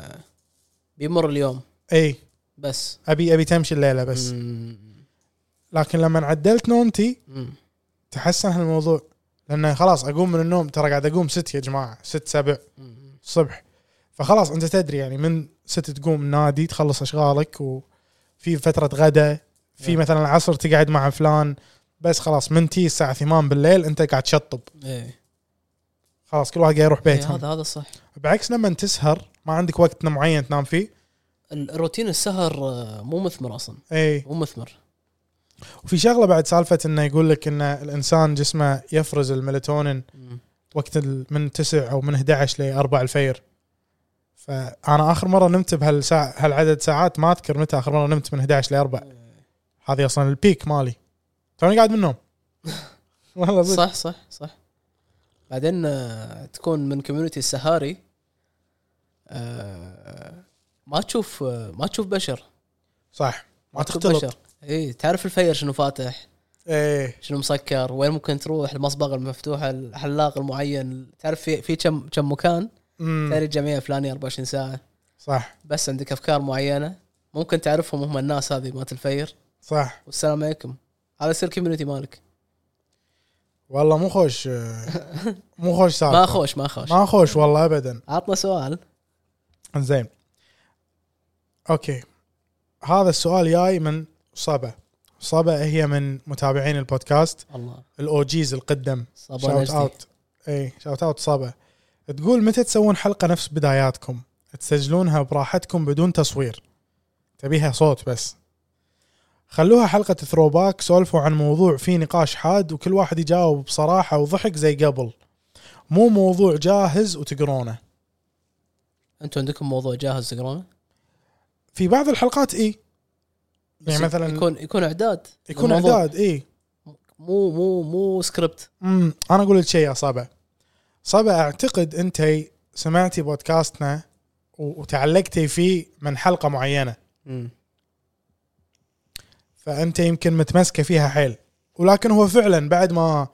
D: بيمر اليوم
B: اي
D: بس
B: ابي ابي تمشي الليله بس
D: مم.
B: لكن لما عدلت نومتي
D: مم.
B: تحسن هالموضوع لانه خلاص اقوم من النوم ترى قاعد اقوم ست يا جماعه ست سبع
D: مم.
B: الصبح فخلاص انت تدري يعني من ست تقوم نادي تخلص اشغالك وفي فتره غدا في
D: نعم.
B: مثلا العصر تقعد مع فلان بس خلاص من تي الساعه 8 بالليل انت قاعد تشطب
D: اي
B: خلاص كل واحد قاعد يروح
D: إي،
B: بيته
D: هذا هذا صح
B: بعكس لما تسهر ما عندك وقت معين تنام فيه
D: الروتين السهر آه، مو مثمر اصلا
B: اي
D: مو مثمر
B: وفي شغله بعد سالفه انه يقول لك ان الانسان جسمه يفرز الميلاتونين
D: مم.
B: وقت ال- من 9 او من 11 ل 4 الفير فانا اخر مره نمت بهالساعه هالعدد ساعات ما اذكر متى اخر مره نمت من 11 ل 4
D: إيه.
B: هذه اصلا البيك مالي توني قاعد
D: [LAUGHS]
B: من النوم والله صدق
D: صح صح صح بعدين آه، تكون من كوميونتي السهاري آه، ما تشوف آه، ما تشوف بشر
B: صح ما
D: تشوف
B: تختلط
D: بشر اي تعرف الفير شنو فاتح
B: ايه
D: شنو مسكر وين ممكن تروح المصبغه المفتوحه الحلاق المعين تعرف في في كم كم مكان
B: أمم،
D: تاري الجمعيه الفلانيه 24 ساعه
B: صح
D: بس عندك افكار معينه ممكن تعرفهم هم الناس هذه مالت الفير
B: صح
D: والسلام عليكم هذا يصير كوميونتي مالك
B: والله مو
D: [LAUGHS]
B: خوش آه، مو خوش سالفه
D: ما خوش ما خوش
B: ما خوش والله ابدا
D: عطنا سؤال
B: زين اوكي هذا السؤال جاي من صبا صبا هي من متابعين البودكاست
D: الله
B: الاو جيز القدم
D: صبا
B: شاوت
D: نجدي
B: اوت اي شاوت اوت صبا تقول متى تسوون حلقه نفس بداياتكم تسجلونها براحتكم بدون تصوير تبيها صوت بس خلوها حلقة ثروباك سولفوا عن موضوع فيه نقاش حاد وكل واحد يجاوب بصراحة وضحك زي قبل مو موضوع جاهز وتقرونه
D: انتم عندكم موضوع جاهز تقرونه
B: في بعض الحلقات اي
D: بس
B: يعني مثلا
D: يكون يكون اعداد
B: يكون إيه.
D: الموضوع.
B: اعداد اي
D: مو مو مو سكريبت
B: امم انا اقول لك شيء يا صبا صبا اعتقد انت سمعتي بودكاستنا و- وتعلقتي فيه من حلقه معينه فانت يمكن متمسكه فيها حيل ولكن هو فعلا بعد ما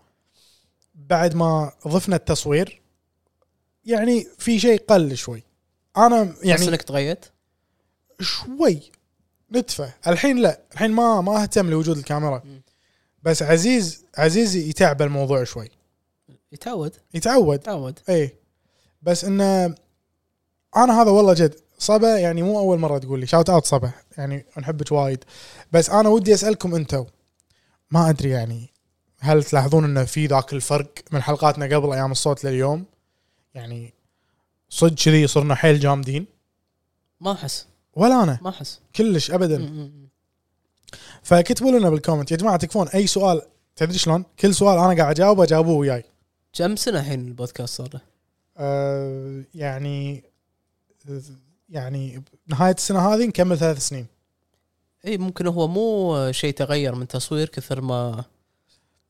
B: بعد ما ضفنا التصوير يعني في شيء قل شوي انا
D: يعني
B: يعني
D: انك تغيرت
B: شوي ندفه الحين لا الحين ما ما اهتم لوجود الكاميرا بس عزيز عزيز يتعب الموضوع شوي
D: يتعود
B: يتعود
D: يتعود
B: اي بس انه انا هذا والله جد صبا يعني مو اول مره تقول لي شاوت اوت صبا يعني نحبك وايد بس انا ودي اسالكم انتم ما ادري يعني هل تلاحظون انه في ذاك الفرق من حلقاتنا قبل ايام الصوت لليوم يعني صدق كذي صرنا حيل جامدين
D: ما احس
B: ولا انا
D: ما احس
B: كلش ابدا فكتبوا لنا بالكومنت يا جماعه تكفون اي سؤال تدري شلون؟ كل سؤال انا قاعد اجاوبه جاوبوه وياي.
D: كم سنه الحين البودكاست صار له؟
B: أه يعني يعني نهايه السنه هذه نكمل ثلاث سنين.
D: اي ممكن هو مو شيء تغير من تصوير كثر ما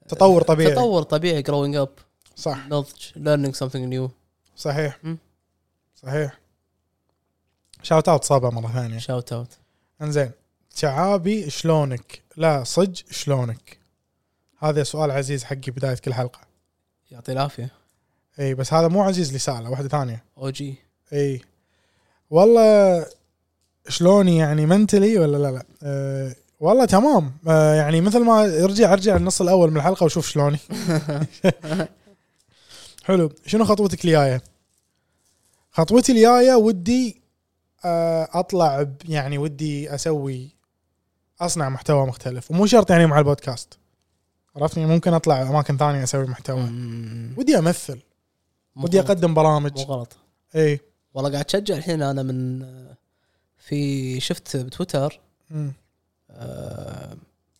B: تطور طبيعي. تطور.
D: تطور طبيعي جروينج اب
B: صح
D: نضج ليرنينج سمثينج نيو
B: صحيح.
D: مم.
B: صحيح. شاوت اوت صابه مره ثانيه.
D: شاوت اوت
B: انزين شعابي شلونك؟ لا صج شلونك؟ هذا سؤال عزيز حقي بدايه كل حلقه.
D: يعطي العافيه
B: اي بس هذا مو عزيز اللي ساله واحده ثانيه.
D: او جي
B: اي إيه. والله شلوني يعني منتلي ولا لا لا أه والله تمام أه يعني مثل ما ارجع ارجع النص الاول من الحلقه وشوف شلوني حلو شنو خطوتك الجايه خطوتي الجايه ودي أه اطلع ب- يعني ودي اسوي اصنع محتوى مختلف ومو شرط يعني مع البودكاست عرفتني ممكن اطلع اماكن ثانيه اسوي محتوى ودي امثل ودي اقدم
D: مو
B: برامج إيه.
D: غلط
B: اي
D: والله قاعد اشجع الحين انا من في شفت بتويتر
B: مم.
D: آه،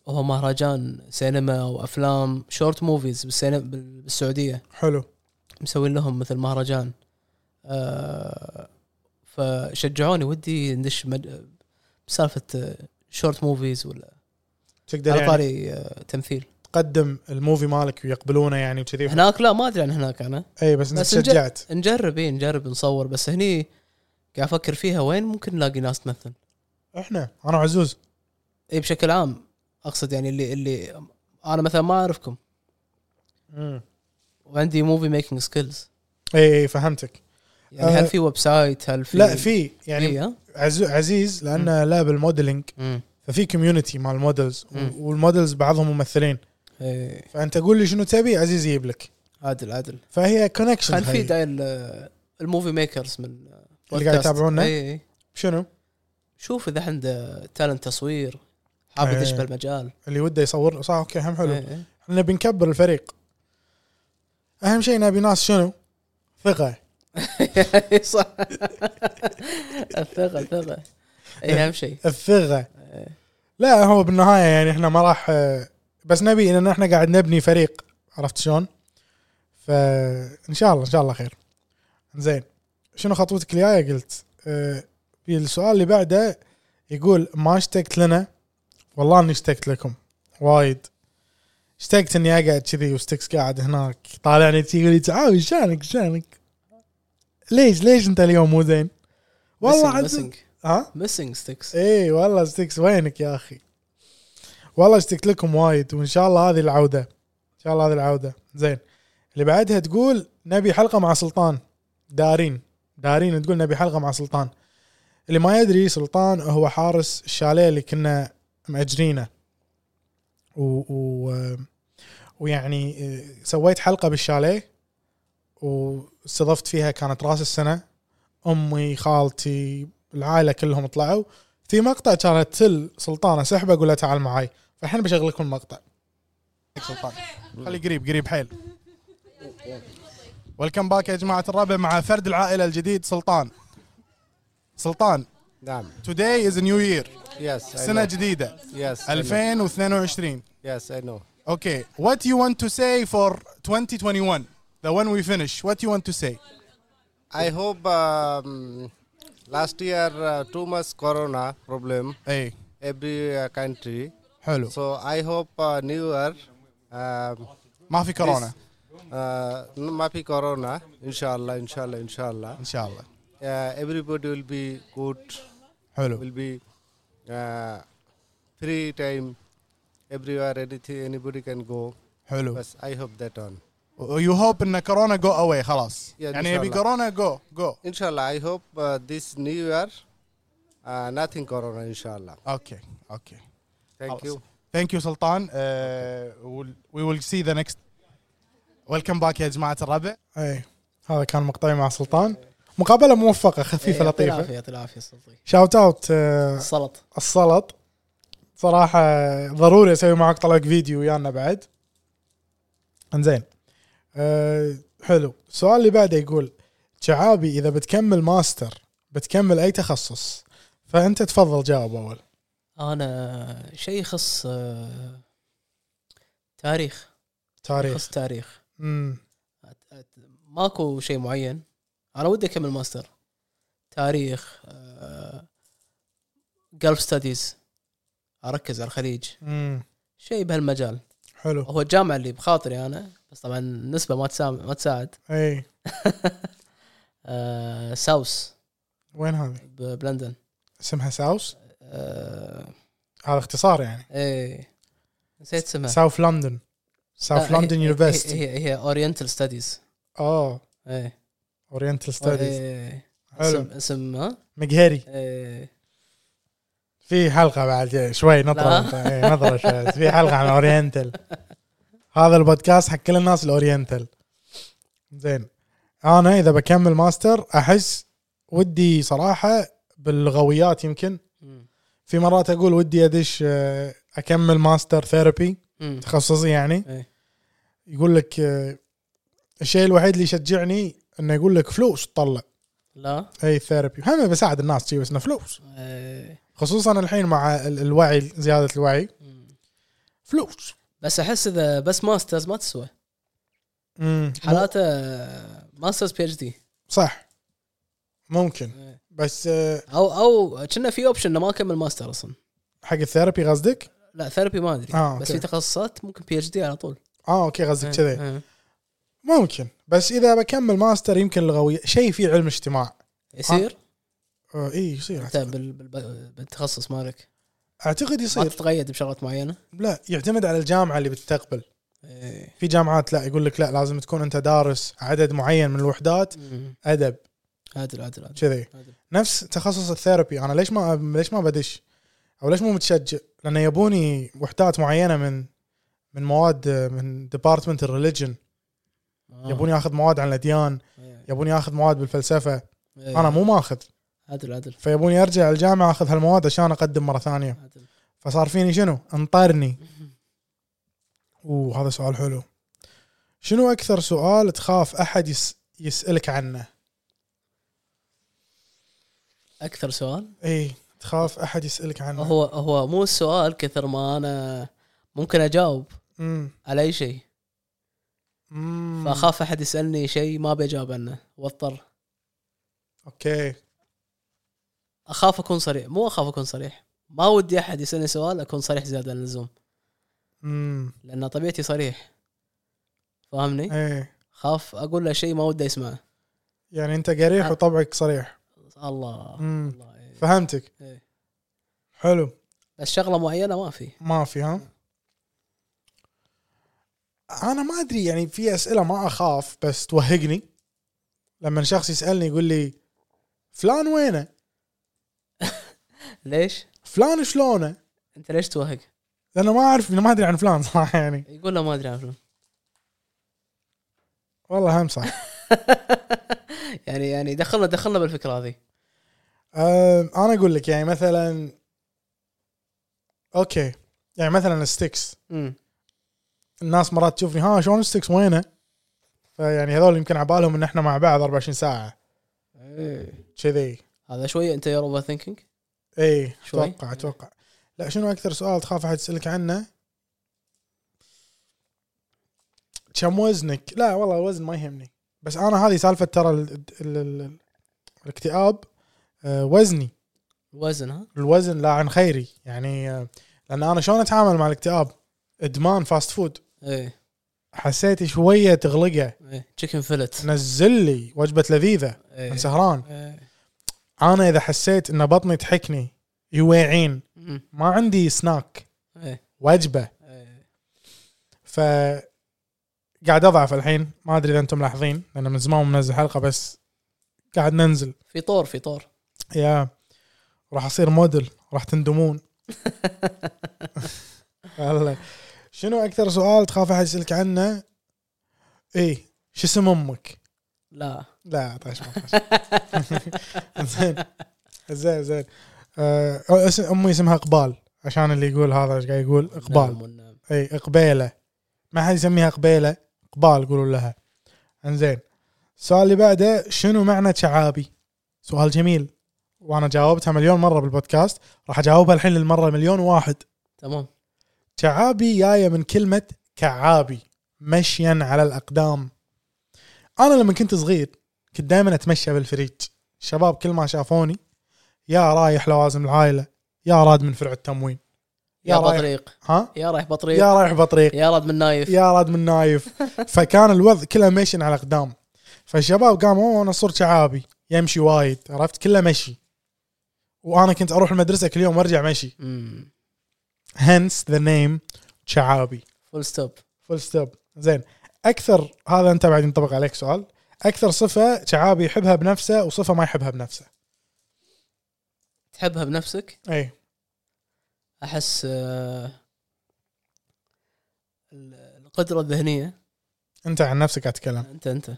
D: هو مهرجان سينما وافلام شورت موفيز بالسينما بالسعوديه
B: حلو
D: مسوين لهم مثل مهرجان آه، فشجعوني ودي ندش مد- بسالفه شورت موفيز ولا
B: تقدر
D: على
B: يعني
D: طاري آه، تمثيل
B: تقدم الموفي مالك ويقبلونه يعني وكذي
D: هناك لا ما ادري عن هناك انا
B: اي بس انت
D: بس الج-
B: تشجعت
D: نجرب اي نجرب نصور بس هني قاعد افكر فيها وين ممكن نلاقي ناس تمثل
B: احنا انا وعزوز
D: اي إيه، بشكل عام اقصد يعني اللي اللي انا مثلا ما اعرفكم وعندي موفي ميكينج سكيلز
B: اي اي إيه، فهمتك
D: يعني
B: آه.
D: هل في ويب سايت هل في
B: لا في يعني
D: يعني
B: عزو عزيز لانه لا بالموديلنج ففي كوميونتي مال المودلز و-
D: مم.
B: والمودلز بعضهم ممثلين فانت قول لي شنو تبي عزيز يجيب لك
D: إيه، عادل عادل
B: فهي كونكشن
D: كان في دايل آه، الموفي ميكرز من آه،
B: اللي قاعد
D: بودكاست.
B: يتابعونا؟
D: اي إي.
B: شنو
D: شوف اذا عنده تالنت تصوير حاب يدش
B: إي.
D: بالمجال إيه،
B: اللي وده يصور له صح اوكي هم إيه. حلو
D: إي إي.
B: احنا نبي نكبر الفريق اهم شيء نبي ناس شنو ثقه
D: [LAUGHS] صح الثقه الثقه اي اهم إيه، شيء
B: الثغه لا هو بالنهايه يعني احنا ما راح بس نبي ان احنا قاعد نبني فريق عرفت شلون؟ فان شاء الله ان شاء الله خير. زين شنو خطوتك الجايه قلت؟ اه، في السؤال اللي بعده يقول ما اشتقت لنا والله اني اشتقت لكم وايد اشتقت اني اقعد كذي وستكس قاعد هناك طالعني تي يقول لي تعال شانك شانك ليش ليش انت اليوم مو زين؟ والله عز إيه،
D: ميسنج
B: ها؟
D: ميسنج ستكس
B: اي والله ستيكس وينك يا اخي والله اشتقت لكم وايد وان شاء الله هذه العوده ان شاء الله هذه العوده زين اللي بعدها تقول نبي حلقه مع سلطان دارين دارين تقول نبي حلقه مع سلطان اللي ما يدري سلطان هو حارس الشاليه اللي كنا مأجرينه و, و ويعني آه، سويت حلقه بالشاليه واستضفت فيها كانت راس السنه امي خالتي العائله كلهم طلعوا في مقطع كانت تل سلطان اسحبه اقول له تعال معاي فالحين بشغل لكم المقطع سلطان خلي قريب قريب حيل ولكم باك يا جماعه الربع مع فرد العائله الجديد سلطان سلطان
F: نعم
B: today is a new year
F: يس
B: سنه جديده
F: يس
B: 2022
F: يس اي نو
B: okay what you want to say for 2021 the one we finish what you want to say
F: اي هوب um, لاست يير تو ماتش كورونا بروبلم
B: اي
F: every uh, country
B: إيه. حلو
F: so i hope uh, new year um,
B: ما في كورونا
F: uh, ما في corona inshallah inshallah inshallah
B: ان شاء الله
F: uh, everybody will be good
B: حلو
F: will be uh, free time everywhere anything anybody can go
B: حلو
F: but i hope that on
B: يو هوب ان كورونا جو اواي خلاص
F: Yeah, إن
B: يعني
F: شاء
B: يبي
F: الله.
B: كورونا جو جو
F: inshallah i hope uh, this new year Uh, nothing corona, inshallah.
C: اوكي اوكي
F: Thank you.
C: ثانك يو سلطان
B: Uh,
C: وي ويل سي ذا نكست ويلكم باك يا جماعه الربع
B: اي إيه، هذا كان مقطعي مع سلطان مقابله موفقه
F: إيه،
B: خفيفه
D: يعطيه
B: لطيفه
D: العافيه يعطيه العافيه السلطي
B: شاوت اوت
D: السلط
B: السلط صراحه ضروري اسوي معك طلق فيديو ويانا بعد انزين أه حلو السؤال اللي بعده يقول شعابي اذا بتكمل ماستر بتكمل اي تخصص فانت تفضل جاوب اول
D: انا شيء يخص آه، تاريخ
B: تاريخ
D: يخص تاريخ
B: امم
D: أت- أت- ماكو شيء معين انا ودي اكمل ماستر تاريخ آه، جلف ستاديز اركز على الخليج
B: امم
D: شيء بهالمجال
B: حلو
D: هو الجامعه اللي بخاطري انا بس طبعا النسبه ما تساعد ما تساعد
B: اي
D: آه، ساوس
B: وين هذه
D: ب- بلندن
B: اسمها ساوس
D: آه،
B: هذا اختصار يعني
D: ايه نسيت اسمها
B: ساوث لندن ساوث
D: آه،
B: لندن
D: هي-
B: يونيفرستي
D: هي هي اورينتال ستاديز
B: اه
D: ايه
B: اورينتال ستاديز
D: إيه.
B: حلو.
D: اسم اسم ها
B: مقهري
D: إيه.
B: في حلقه بعد شوي
D: لا.
B: نظره إيه، نظره شوي في حلقه عن اورينتال هذا البودكاست حق كل الناس الاورينتال زين انا اذا بكمل ماستر احس ودي صراحه باللغويات يمكن
D: مم.
B: في مرات اقول ودي ادش آه، اكمل ماستر ثيرابي
D: مم.
B: تخصصي يعني
D: إيه.
B: يقول لك آه، الشيء الوحيد اللي يشجعني انه يقول لك فلوس تطلع
D: لا
B: اي ثيرابي هم بساعد الناس شي، بس انه فلوس
D: إيه.
B: خصوصا الحين مع ال- الوعي زياده الوعي
D: مم.
B: فلوس
D: بس احس اذا بس ماسترز ما تسوى
B: امم
D: حالاته ماسترز بي اتش دي
B: صح ممكن
D: إيه.
B: بس آه،
D: او او كنا في اوبشن انه ما اكمل ماستر اصلا
B: حق الثيرابي قصدك؟
D: لا ثيرابي ما ادري
B: آه،
D: بس
B: أوكي.
D: في تخصصات ممكن بي اتش دي على طول
B: اه اوكي قصدك كذا
D: إيه.
B: ممكن بس اذا بكمل ماستر يمكن لغوي شيء فيه علم اجتماع
D: يصير
B: آه اي يصير
D: انت بال- بال- بالتخصص مالك
B: اعتقد
D: ما
B: يصير
D: تتقيد بشغلات معينه
B: لا يعتمد على الجامعه اللي بتستقبل
D: إيه.
B: في جامعات لا يقول لك لا لازم تكون انت دارس عدد معين من الوحدات
D: مم.
B: ادب
D: عادل عادل عادل
B: كذي
D: عادل.
B: نفس تخصص الثيرابي انا ليش ما ليش ما بدش او ليش مو متشجع لان يبوني وحدات معينه من من مواد من ديبارتمنت الريليجن
D: آه.
B: يبوني اخذ مواد عن الاديان
D: إيه.
B: يبوني اخذ مواد بالفلسفه
D: إيه.
B: انا مو ماخذ
D: عادل عادل
B: فيبوني ارجع الجامعه اخذ هالمواد عشان اقدم مره ثانيه
D: عادل
B: فصار فيني شنو
D: [LAUGHS]
B: انطرني وهذا سؤال حلو شنو اكثر سؤال تخاف احد يس يسالك عنه
D: اكثر سؤال
B: اي إيه، تخاف احد يسالك عنه
D: هو هو مو السؤال كثر ما انا ممكن اجاوب
B: امم
D: على اي شيء
B: أمم.
D: فاخاف احد يسالني شيء ما بجاوب عنه واضطر
B: اوكي
D: اخاف اكون صريح مو اخاف اكون صريح ما ودي احد يسالني سؤال اكون صريح زياده عن اللزوم
B: امم
D: لان طبيعتي صريح فاهمني؟
B: ايه
D: خاف اقول له شيء ما وده يسمعه
B: يعني انت قريح
D: آه.
B: وطبعك صريح
D: الله
B: مم.
D: الله إيه.
B: فهمتك
D: إيه.
B: حلو
D: بس شغله معينه ما في
B: ما في
D: إيه.
B: ها انا ما ادري يعني في اسئله ما اخاف بس توهقني لما شخص يسالني يقول لي فلان وينه
D: ليش؟
B: فلان شلونه
D: انت ليش توهق؟
B: لانه ما اعرف ما ادري عن فلان [LAUGHS] صراحه يعني
D: يقول له ما ادري عن شنو.
B: والله هم صح
D: [LAUGHS] يعني يعني دخلنا دخلنا بالفكره هذه
B: أه انا اقول لك يعني مثلا اوكي يعني مثلا ستيكس
D: امم
B: الناس مرات تشوفني ها شلون ستيكس وينه فيعني هذول يمكن عبالهم ان احنا مع بعض 24 ساعه كذي
D: هذا شويه انت يور اوفر ثينكينج
B: اي
D: شوي.
B: اتوقع اتوقع لا شنو اكثر سؤال تخاف احد يسالك عنه؟ كم وزنك؟ لا والله الوزن ما يهمني بس انا هذه سالفه ترى ال ال ال ال الاكتئاب آه، وزني
D: وزن ها
B: الوزن لا عن خيري يعني آه، لان انا شلون اتعامل مع الاكتئاب؟ ادمان فاست فود
D: ايه
B: حسيت شويه تغلقه
D: ايه تشيكن فيلت
B: نزل لي وجبه لذيذه
D: ايه
B: من سهران
D: إيه.
B: انا اذا حسيت ان بطني تحكني يويعين
D: مم.
B: ما عندي سناك
D: ايه
B: وجبه
D: إيه.
B: ف قاعد اضعف الحين ما ادري اذا انتم ملاحظين لان من زمان منزل حلقه بس قاعد ننزل
D: في طور في طور
B: يا راح اصير موديل
D: [LAUGHS]
B: راح تندمون والله شنو اكثر سؤال تخاف احد يسالك عنه؟ اي شو اسم امك؟
D: لا
B: لا طاش ما طاش. [LAUGHS] زين زين زين آه، اسم- امي اسمها اقبال عشان اللي يقول هذا ايش قاعد يقول اقبال
D: نعم والنعم.
B: اي قبيله ما حد يسميها قبيله قبال يقولون لها انزين السؤال اللي بعده شنو معنى شعابي؟ سؤال جميل وانا جاوبتها مليون مره بالبودكاست راح اجاوبها الحين للمره مليون واحد
D: تمام
B: شعابي جايه من كلمه كعابي مشيا على الاقدام انا لما كنت صغير كنت دائما اتمشى بالفريج الشباب كل ما شافوني يا رايح لوازم العائله يا راد من فرع التموين
D: يا,
B: يا رايح-
D: بطريق
B: ها
D: يا رايح بطريق يا,
B: يا رايح بطريق
D: راد من نايف
B: يا راد من نايف فكان الوضع كله مشي على اقدام فالشباب قاموا "أوه، انا صرت شعابي يمشي وايد عرفت كله مشي وانا كنت اروح المدرسه كل يوم وارجع مشي hence the name شعابي
D: فول ستوب
B: فول ستوب زين اكثر هذا انت بعد ينطبق عليك سؤال اكثر صفه شعابي يحبها بنفسه وصفه ما يحبها بنفسه
D: تحبها بنفسك
B: اي
D: احس آه، ال- القدره الذهنيه
B: انت عن نفسك قاعد تتكلم
D: انت انت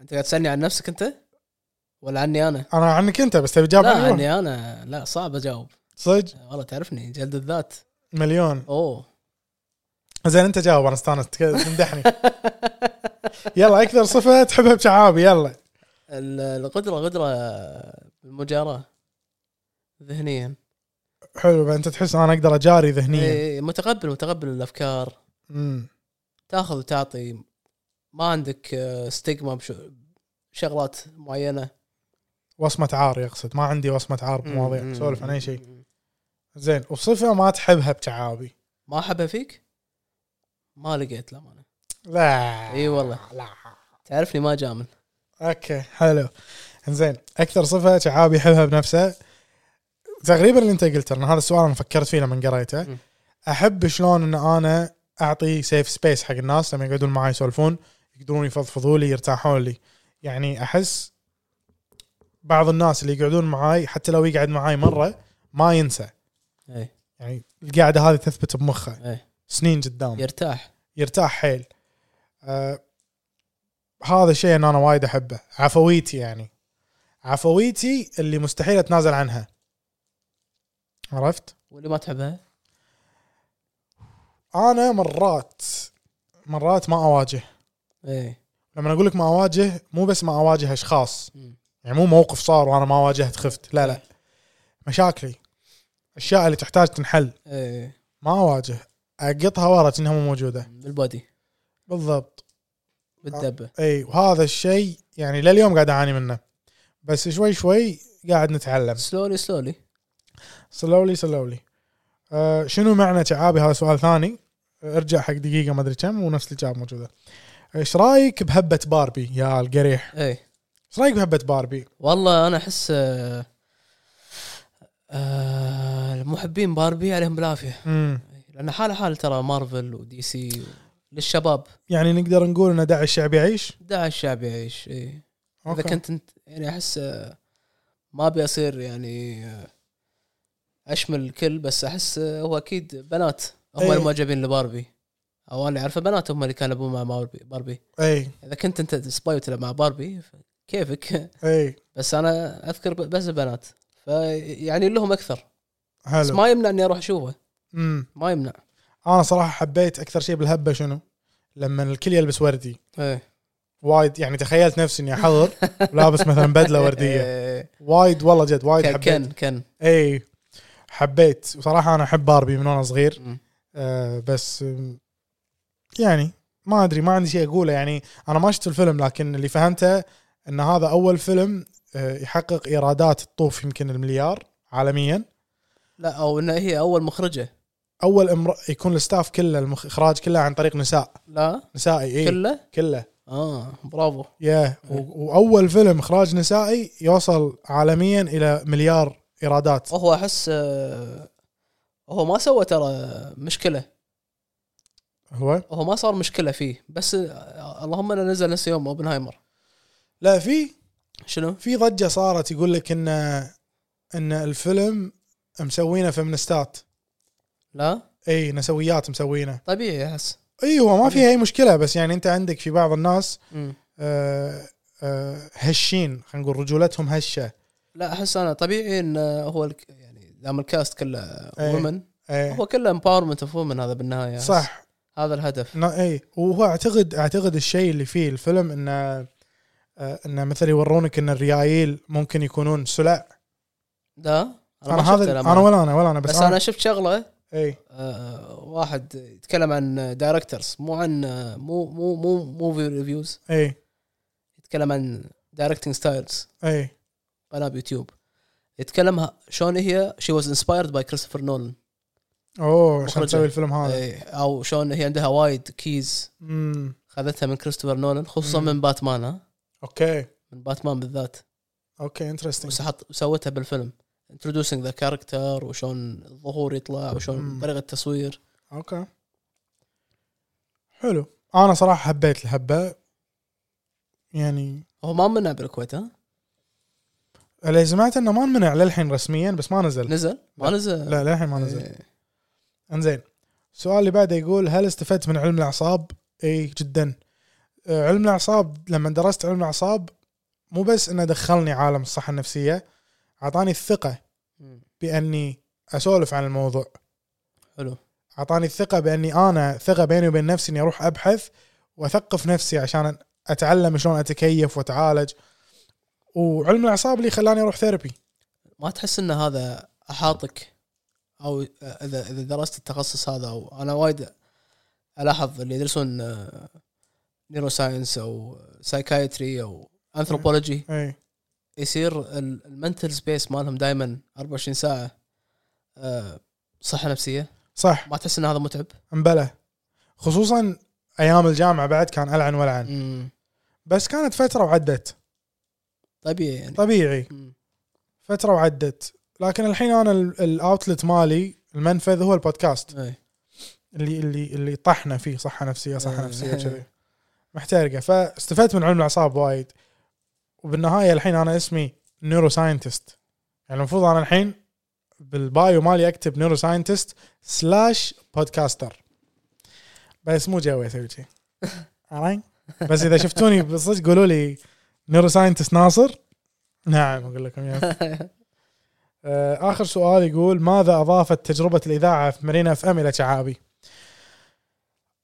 D: انت قاعد تسالني عن نفسك انت ولا عني انا
B: انا عنك انت بس تبي تجاوب
D: لا يعني-
B: مليون
D: عني انا لا صعب اجاوب
B: صدق
D: والله تعرفني جلد الذات
B: مليون
D: اوه
B: زين انت جاوب انا استانست
D: [LAUGHS]
B: كذا تمدحني يلا اكثر صفه تحبها بشعابي يلا
D: ال- القدره قدره بالمجاراه ذهنيا
B: حلو انت تحس انا اقدر اجاري ذهنيا
D: إيه، متقبل متقبل الافكار
B: امم
D: تاخذ وتعطي ما عندك آه، ستيغما بشو- شغلات معينه
B: وصمه عار يقصد ما عندي وصمه عار بمواضيع
D: مم.
B: سولف عن اي شيء زين وصفه ما تحبها بشعابي
D: ما احبها فيك ما لقيت للامانه
B: لا
D: اي والله
B: لا
D: تعرفني ما جامل
B: اوكي حلو زين اكثر صفه شعابي يحبها بنفسه تقريبا اللي انت قلته لان هذا السؤال انا فكرت فيه لما قريته
D: مم.
B: احب شلون ان انا اعطي سيف سبيس حق الناس لما يقعدون معي يسولفون يقدرون يفضفضوا لي يرتاحون لي يعني احس بعض الناس اللي يقعدون معاي حتى لو يقعد معاي مره ما ينسى
D: اي
B: يعني القعده هذه تثبت بمخه
D: اي
B: سنين قدام
D: يرتاح
B: يرتاح حيل آه هذا الشيء ان انا وايد احبه عفويتي يعني عفويتي اللي مستحيل اتنازل عنها عرفت
D: واللي ما تحبها
B: انا مرات مرات ما اواجه
D: اي
B: لما اقول لك ما اواجه مو بس ما اواجه اشخاص
D: مم.
B: يعني مو موقف صار وانا ما واجهت خفت لا لا مشاكلي اشياء اللي تحتاج تنحل
D: اي
B: ما اواجه اقطها ورا كأنها مو موجوده
D: بالبودي
B: بالضبط
D: بالدبه
B: اي إيه، وهذا الشيء يعني لليوم قاعد اعاني منه بس شوي شوي قاعد نتعلم
D: سلولي سلولي
B: سلولي سلولي آه شنو معنى شعابي هذا سؤال ثاني ارجع حق دقيقه ما ادري كم ونفس الاجابه موجوده ايش رايك بهبه باربي يا القريح
D: اي
B: ايش رايك بهبه باربي
D: والله انا احس آه، آه، المحبين باربي عليهم بالعافيه
B: امم
D: لان حاله حال ترى مارفل ودي سي و- للشباب
B: يعني نقدر نقول ان داعي الشعب يعيش
D: دع الشعب يعيش اي اذا
B: أوكي.
D: كنت انت يعني احس آه، ما ابي اصير يعني آه، اشمل الكل بس احس آه، هو اكيد بنات هم
B: إيه.
D: المعجبين لباربي او انا اعرفه بنات هم اللي كانوا مع باربي باربي
B: اي
D: اذا كنت انت سباي وتلعب مع باربي ف- كيفك [LAUGHS]
B: اي
D: بس انا اذكر ب- بس بنات فيعني لهم اكثر بس
B: حلو
D: ما يمنع اني اروح اشوفه
B: امم
D: ما يمنع
B: انا صراحه حبيت اكثر شيء بالهبه شنو لما الكل يلبس وردي
D: ايه
B: وايد يعني تخيلت نفسي اني احضر لابس مثلا بدله ورديه
D: إيه.
B: وايد والله جد وايد
D: كان
B: حبيت
D: كان كان
B: اي حبيت وصراحه انا احب باربي من وانا صغير
D: مم.
B: آه بس آم، يعني ما ادري ما عندي شيء اقوله يعني انا ما شفت الفيلم لكن اللي فهمته ان هذا اول فيلم آه، يحقق ايرادات تطوف يمكن المليار عالميا
D: لا او انها هي اول مخرجه
B: اول امر... يكون الستاف كله المخ- الاخراج كله عن طريق نساء
D: لا
B: نسائي اي كله,
D: كله اه برافو
B: يا و... واول فيلم اخراج نسائي يوصل عالميا الى مليار ايرادات
D: هو احس آه، هو ما سوى ترى مشكله
B: هو
D: هو ما صار مشكله فيه بس آه، اللهم انا نزل نفس يوم اوبنهايمر
B: لا في
D: شنو
B: في ضجه صارت يقول لك ان ان الفيلم مسوينه فيمنستات
D: لا
B: اي نسويات مسوينه
D: طبيعي احس
B: ايوه ما فيها اي مشكله بس يعني انت عندك في بعض الناس
D: مم.
B: آه، آه، هشين خلينا نقول رجولتهم هشه
D: لا احس انا طبيعي ان هو الك... يعني دام الكاست كله
B: إيه.
D: ومن
B: إيه.
D: هو كله امباورمنت اوف ومن هذا بالنهايه أحس.
B: صح
D: هذا الهدف
B: نا- اي وهو اعتقد اعتقد الشيء اللي فيه الفيلم انه آه، انه مثلا يورونك ان الريايل ممكن يكونون سلع
D: لا
B: انا,
D: ما شفته
B: هذا
D: للأمانة.
B: انا ولا انا ولا انا بس,
D: بس, بس انا شفت شغله
B: اي
D: آه، واحد يتكلم عن دايركترز مو عن آه، مو مو مو موفي ريفيوز
B: اي
D: يتكلم عن دايركتنج ستايلز
B: اي
D: قناه بيوتيوب يتكلم ه- شلون هي شي واز انسبايرد باي كريستوفر نولان
B: اوه عشان
D: مخرجة.
B: تسوي الفيلم هذا
D: او إيه، شلون هي عندها وايد كيز
B: امم
D: خذتها من كريستوفر نولان خصوصا
B: مم.
D: من باتمان ها
B: اوكي
D: من باتمان بالذات
B: اوكي انترستنج
D: وسحط وسوتها بالفيلم انتروديوسينج ذا كاركتر وشلون الظهور يطلع وشلون
B: مم.
D: طريقه التصوير
B: اوكي حلو انا صراحه حبيت الهبه يعني
D: هو ما منع بالكويت ها
B: اللي سمعت انه ما منع للحين رسميا بس ما نزل
D: نزل ما نزل
B: لا للحين ما نزل
D: إيه.
B: انزين السؤال اللي بعده يقول هل استفدت من علم الاعصاب؟ اي جدا آه، علم الاعصاب لما درست علم الاعصاب مو بس انه دخلني عالم الصحه النفسيه اعطاني الثقه
D: مم.
B: باني اسولف عن الموضوع
D: حلو
B: اعطاني الثقه باني انا ثقه بيني وبين نفسي اني اروح ابحث واثقف نفسي عشان اتعلم شلون اتكيف واتعالج وعلم الاعصاب اللي خلاني اروح ثيرابي
D: ما تحس ان هذا احاطك او اذا اذا درست التخصص هذا او انا وايد الاحظ اللي يدرسون آه، نيرو ساينس او سايكايتري او انثروبولوجي
B: اي
D: يصير المنتل سبيس مالهم دائما 24 ساعه آه، صحه نفسيه
B: صح
D: ما تحس ان هذا متعب
B: مبلى خصوصا ايام الجامعه بعد كان العن والعن
D: مم.
B: بس كانت فتره وعدت
D: طبيعي يعني
B: طبيعي
D: مم.
B: فتره وعدت لكن الحين انا الاوتلت مالي المنفذ هو البودكاست
D: إيه.
B: اللي اللي اللي طحنا فيه صحه نفسيه صحه
D: إيه.
B: نفسيه كذي محترقه فاستفدت من علم الاعصاب وايد وبالنهايه الحين انا اسمي نيورو ساينتست يعني المفروض انا الحين بالبايو مالي اكتب نيورو ساينتست سلاش بودكاستر بس مو جوي اسوي شيء عرفت؟ بس اذا شفتوني بالصدق قولوا لي نيورو ساينتست ناصر نعم اقول لكم يا آه، اخر سؤال يقول ماذا اضافت تجربه الاذاعه في مارينا اف ام الى شعابي؟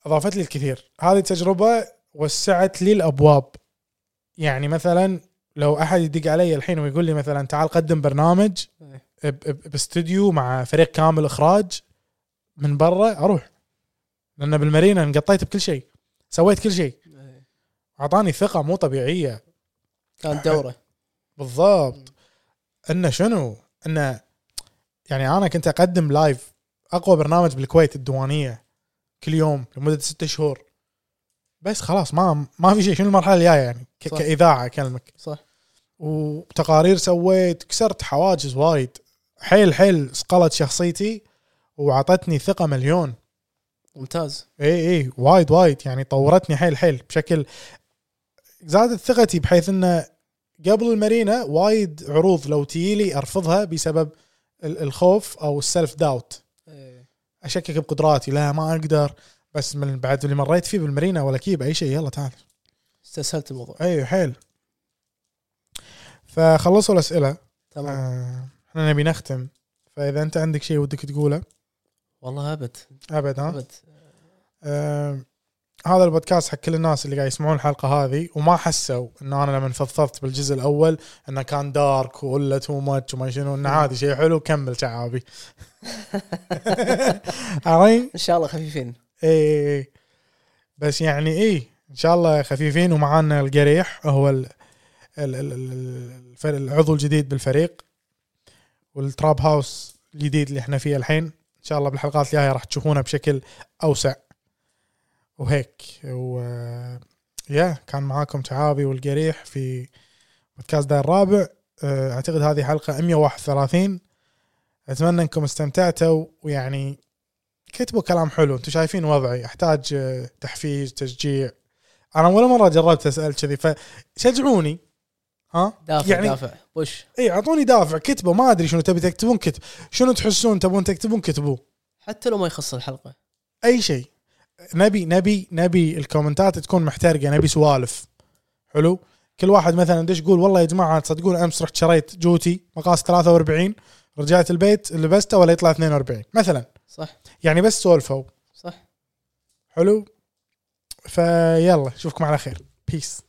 B: اضافت لي الكثير، هذه التجربه وسعت لي الابواب. يعني مثلا لو احد يدق علي الحين ويقول لي مثلا تعال قدم برنامج
D: إيه.
B: ب- ب- باستوديو مع فريق كامل اخراج من برا اروح. لان بالمارينا انقطيت بكل شيء، سويت كل شيء،
D: إيه.
B: اعطاني ثقه مو طبيعيه.
D: كانت دوره
B: بالضبط انه شنو؟ انه يعني انا كنت اقدم لايف اقوى برنامج بالكويت الديوانيه كل يوم لمده ستة شهور بس خلاص ما ما في شيء شنو المرحله الجايه يعني ك-
D: صح.
B: كاذاعه اكلمك
D: صح
B: وتقارير سويت كسرت حواجز وايد حيل حيل صقلت شخصيتي وعطتني ثقه مليون
D: ممتاز
B: اي اي إيه، وايد وايد يعني طورتني حيل حيل بشكل زادت ثقتي بحيث انه قبل المارينا وايد عروض لو تجيلي ارفضها بسبب ال- الخوف او السلف داوت
D: إيه.
B: اشكك بقدراتي لا ما اقدر بس من بعد اللي مريت فيه بالمارينا ولا كيب اي شيء يلا تعال
D: استسهلت الموضوع
B: اي حيل فخلصوا الاسئله
D: تمام
B: آه، احنا نبي نختم فاذا انت عندك شيء ودك تقوله
D: والله ابد
B: ابد ها
D: ابد
B: آه، هذا البودكاست حق كل الناس اللي قاعد يسمعون الحلقه هذه وما حسوا ان انا لما فضفضت بالجزء الاول انه كان دارك ولا تو ماتش وما شنو انه عادي شيء حلو كمل شعابي [LAUGHS] عرفت؟
D: ان شاء الله خفيفين
B: اي إيه، بس يعني اي ان شاء الله خفيفين ومعانا القريح هو ال ال ال ال الفريق- العضو الجديد بالفريق والتراب هاوس الجديد اللي احنا فيه الحين ان شاء الله بالحلقات الجايه راح تشوفونه بشكل اوسع وهيك و يا كان معاكم تعابي والقريح في بودكاست دار الرابع أه، اعتقد هذه حلقه 131 اتمنى انكم استمتعتوا ويعني كتبوا كلام حلو انتم شايفين وضعي احتاج أه، تحفيز تشجيع انا ولا مره جربت اسال كذي فشجعوني ها
D: دافع يعني
B: يعني
D: دافع بوش
B: اي اعطوني دافع كتبه ما ادري شنو تبي تكتبون كتب شنو تحسون تبون تكتبون كتبوه
D: حتى لو ما يخص الحلقه
B: اي شيء نبي نبي نبي الكومنتات تكون محترقه نبي سوالف حلو كل واحد مثلا دش يقول والله يا جماعه تصدقون امس رحت شريت جوتي مقاس 43 رجعت البيت لبسته ولا يطلع 42 مثلا
D: صح
B: يعني بس سولفوا
D: صح
B: حلو فيلا اشوفكم على خير بيس